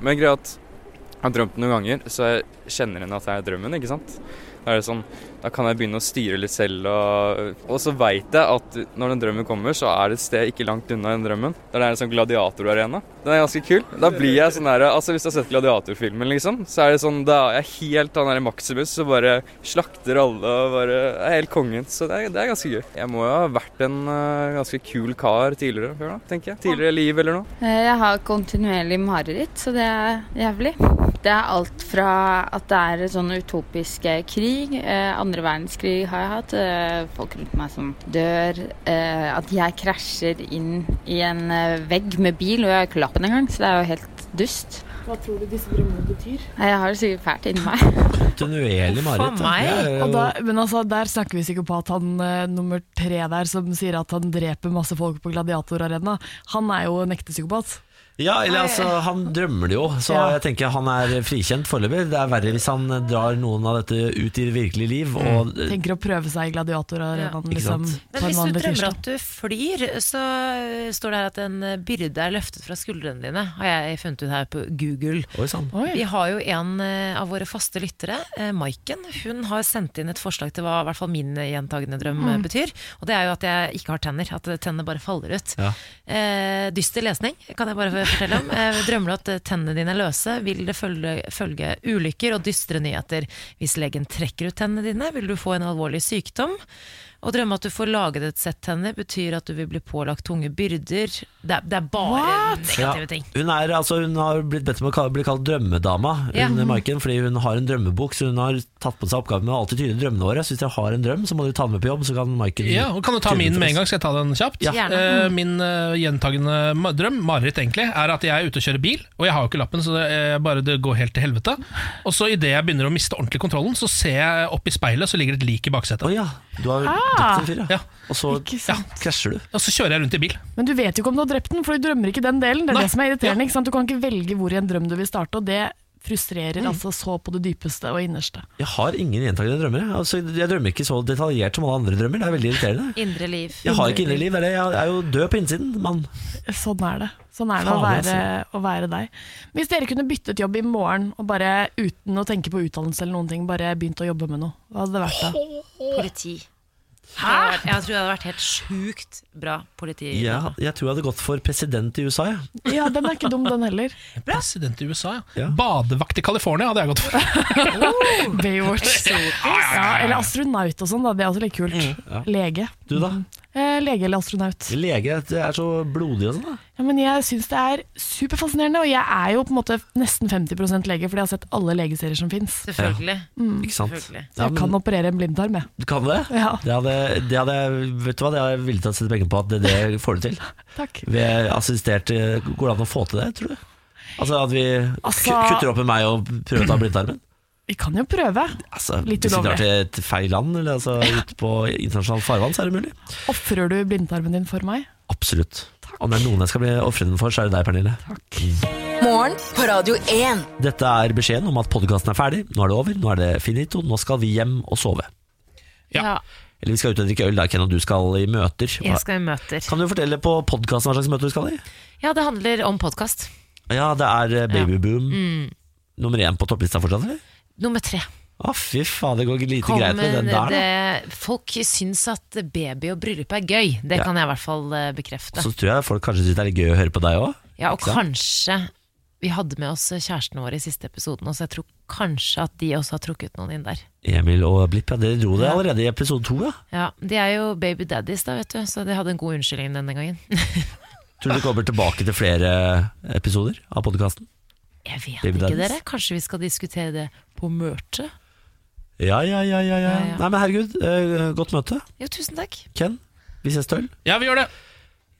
men greia er at jeg har drømt den noen ganger, så jeg kjenner igjen at det er drømmen, ikke sant. Da er det sånn, da kan jeg begynne å styre litt selv, og, og så veit jeg at når den drømmen kommer, så er det et sted ikke langt unna den drømmen. Der det er en sånn gladiatorarena. Den er ganske kul. Da blir jeg sånn der, altså Hvis du har sett gladiatorfilmen, liksom, så er det sånn, da er jeg helt han derre Maximus som bare slakter alle og bare er helt kongen. Så det er, det er ganske gøy. Jeg må jo ha vært en eh, ganske kul kar tidligere, før da, tenker jeg. Tidligere liv eller noe. Eh, Jeg har kontinuerlig mareritt, så det er jævlig. Det er alt fra at det er sånn utopisk eh, krig, eh, andre verdenskrig har jeg hatt, eh, folk rundt meg som dør, eh, at jeg krasjer inn i en eh, vegg med bil, og jeg har ikke lappen engang, så det er jo helt dust. Hva tror du disse drømmene betyr? Nei, Jeg har det sikkert fælt inni meg. Kontinuerlig mareritt. da. Det er jo- Og da, [LAUGHS] men altså, der snakker vi psykopat, han eh, nummer tre der som sier at han dreper masse folk på gladiatorarena. Han er jo en ekte psykopat. Ja, eller altså, han drømmer det jo, så Ja. jeg tenker han er frikjent foreløpig. Det er verre hvis han drar noen av dette ut i det virkelige liv. Og, eh, Tenker å prøve seg i Ja. gladiatorarenaen Ikke liksom, sant? Men på en hvis du vanlig drømmer tirsdag. at du flyr, så eh, står det her at en eh, byrde er løftet fra skuldrene dine, har jeg funnet ut her på Google. Oi, sann. Vi har jo en eh, av våre faste lyttere, eh, Maiken. Hun har sendt inn et forslag til hva i hvert fall min eh, gjentagende drøm eh, Mm. betyr. Og det er jo at jeg ikke har tenner. At eh, tennene bare faller ut. Ja. Eh, dyster lesning, kan jeg bare fortelle om. Eh, drømmer du at eh, tennene dine er løse, vil det følge, følge ulykker og dystre nyheter. Hvis legen trekker ut tennene dine, vil du få en alvorlig sykdom. Å drømme at du får laget et sett tenner, betyr at du vil bli pålagt tunge byrder. Det er, det er bare negative ting. Hun, er, altså, hun har blitt bedt om å kall- bli kalt drømmedama, Ja. hun, eh, Maiken, fordi hun har en drømmebok. Så hun har tatt på seg oppgaven med å alltid tyde drømmene våre. Så hvis dere har en drøm, så må dere ta den med på jobb. Så kan Maiken Ja, og Kan du ta tyde min den for med en oss. gang? Skal jeg ta den kjapt? Ja. Gjerne. Eh, min eh, gjentagende ma- drøm, mareritt egentlig, er at jeg er ute og kjører bil, og jeg har jo ikke lappen, så det, eh, bare det går helt til helvete. Og så idet jeg begynner å miste ordentlig kontrollen, så ser jeg opp i speilet, så ligger det et lik i baksetet. Du har Ah! drept en fyr, ja. Og så krasjer du. Og så kjører jeg rundt i bil. Men du vet jo ikke om du har drept den, for du drømmer ikke den delen. Det er Nei. det som er irriterende. Ikke sant? Du kan ikke velge hvor i en drøm du vil starte, og det frustrerer Mm. altså så på det dypeste og innerste. Jeg har ingen gjentagende drømmer. jeg. Altså, jeg drømmer ikke så detaljert som alle andre drømmer. Det er veldig irriterende. Indre liv. Jeg har ikke indre liv. det er det. Jeg er jo død på innsiden, mann. Sånn er det. Sånn er det å Fader, altså. være, å være deg. Hvis dere kunne byttet jobb i morgen, og bare uten å tenke på utdannelse eller noen ting, bare begynt å jobbe med noe, hva hadde det vært da? Politi. Hæ? Jeg tror det hadde vært helt sjukt bra politi. Ja, jeg tror jeg hadde gått for president i USA, jeg. Ja, den er ikke dum, den heller. President i USA, ja. Badevakt i California hadde jeg gått [LAUGHS] for. Baywatch. Oh. Ja, eller astronaut og sånn, da. Det er også litt kult. Mm, Ja. Lege. Du da? Mm. Eh, lege eller astronaut. Lege det er så blodig og sånn, da. Ja, men jeg syns det er superfascinerende, og jeg er jo på en måte nesten 50 lege, fordi jeg har sett alle legeserier som fins. Selvfølgelig. Mm. Ikke sant? Selvfølgelig. Så jeg kan operere en blindtarm, jeg. Du kan det? Ja. Det hadde, det hadde, vet du hva, det hadde jeg villig til å sette penger på at det, det får du til. Takk. Ved assistert eh, Går det an å få til det, tror du? Altså at vi Altså- ku- kutter opp med meg og prøver å ta blindtarmen? Vi kan jo prøve. Altså, Litt hvis vi drar ulovlig. til et feil land, eller altså ut på internasjonalt farvann, så er det mulig. Ofrer du blindtarmen din for meg? Absolutt. Om det er noen jeg skal bli ofre den for, så er det deg, Pernille. Morgen på Radio 1. Dette er beskjeden om at podkasten er ferdig. Nå er det over, nå er det finito, nå skal vi hjem og sove. Ja. Eller vi skal ut og drikke øl, da, Ken, og du skal i møter. Hva- Jeg skal i møter. Kan du fortelle på podkasten hva slags møter du skal i? Ja, det handler om podkast. Ja, det er eh, Babyboom Mm. nummer én på topplista fortsatt, eller? Nummer tre. Å, fy faen, det går lite greit med Kommer den der, da. det, folk syns at baby og bryllup er gøy. Det Ja. kan jeg i hvert fall eh, bekrefte. Så tror jeg folk kanskje syns det er litt gøy å høre på deg òg. Ja, og kanskje vi hadde med oss kjærestene våre i siste episoden, og så jeg tror kanskje at de også har trukket noen inn der. Emil og Blipp, ja, dere dro det allerede i episode to, ja. Ja, De er jo baby daddies, da, vet du, så de hadde en god unnskyldning denne gangen. Tror du det kommer tilbake til flere eh, episoder av podkasten? Jeg vet Baby ikke, daddies? dere. Kanskje vi skal diskutere det på møtet? Ja, ja, ja, ja, ja. Ja, ja. Nei, men herregud, eh, godt møte. Jo, tusen takk. Ken, vi ses til øl. Ja, vi gjør det.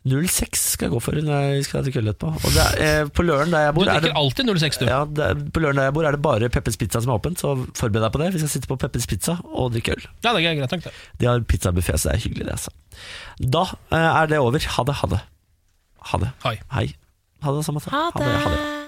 06 skal jeg gå for når jeg skal drikke øl etterpå. Og det er, eh, på Løren der jeg bor Du er drikker det- alltid 06, du. Ja, det, er- på Løren der jeg bor er det bare Peppers Pizza som er åpent, så forbered deg på det. Vi skal sitte på Peppers Pizza og drikke øl. Ja, det er greit nok, det. De har pizzabuffé, så det er hyggelig, det, altså. Da eh, er det over. Ha det, ha det. Ha det. Hei. Hei. Ha det, samme. Ha det. Ha det.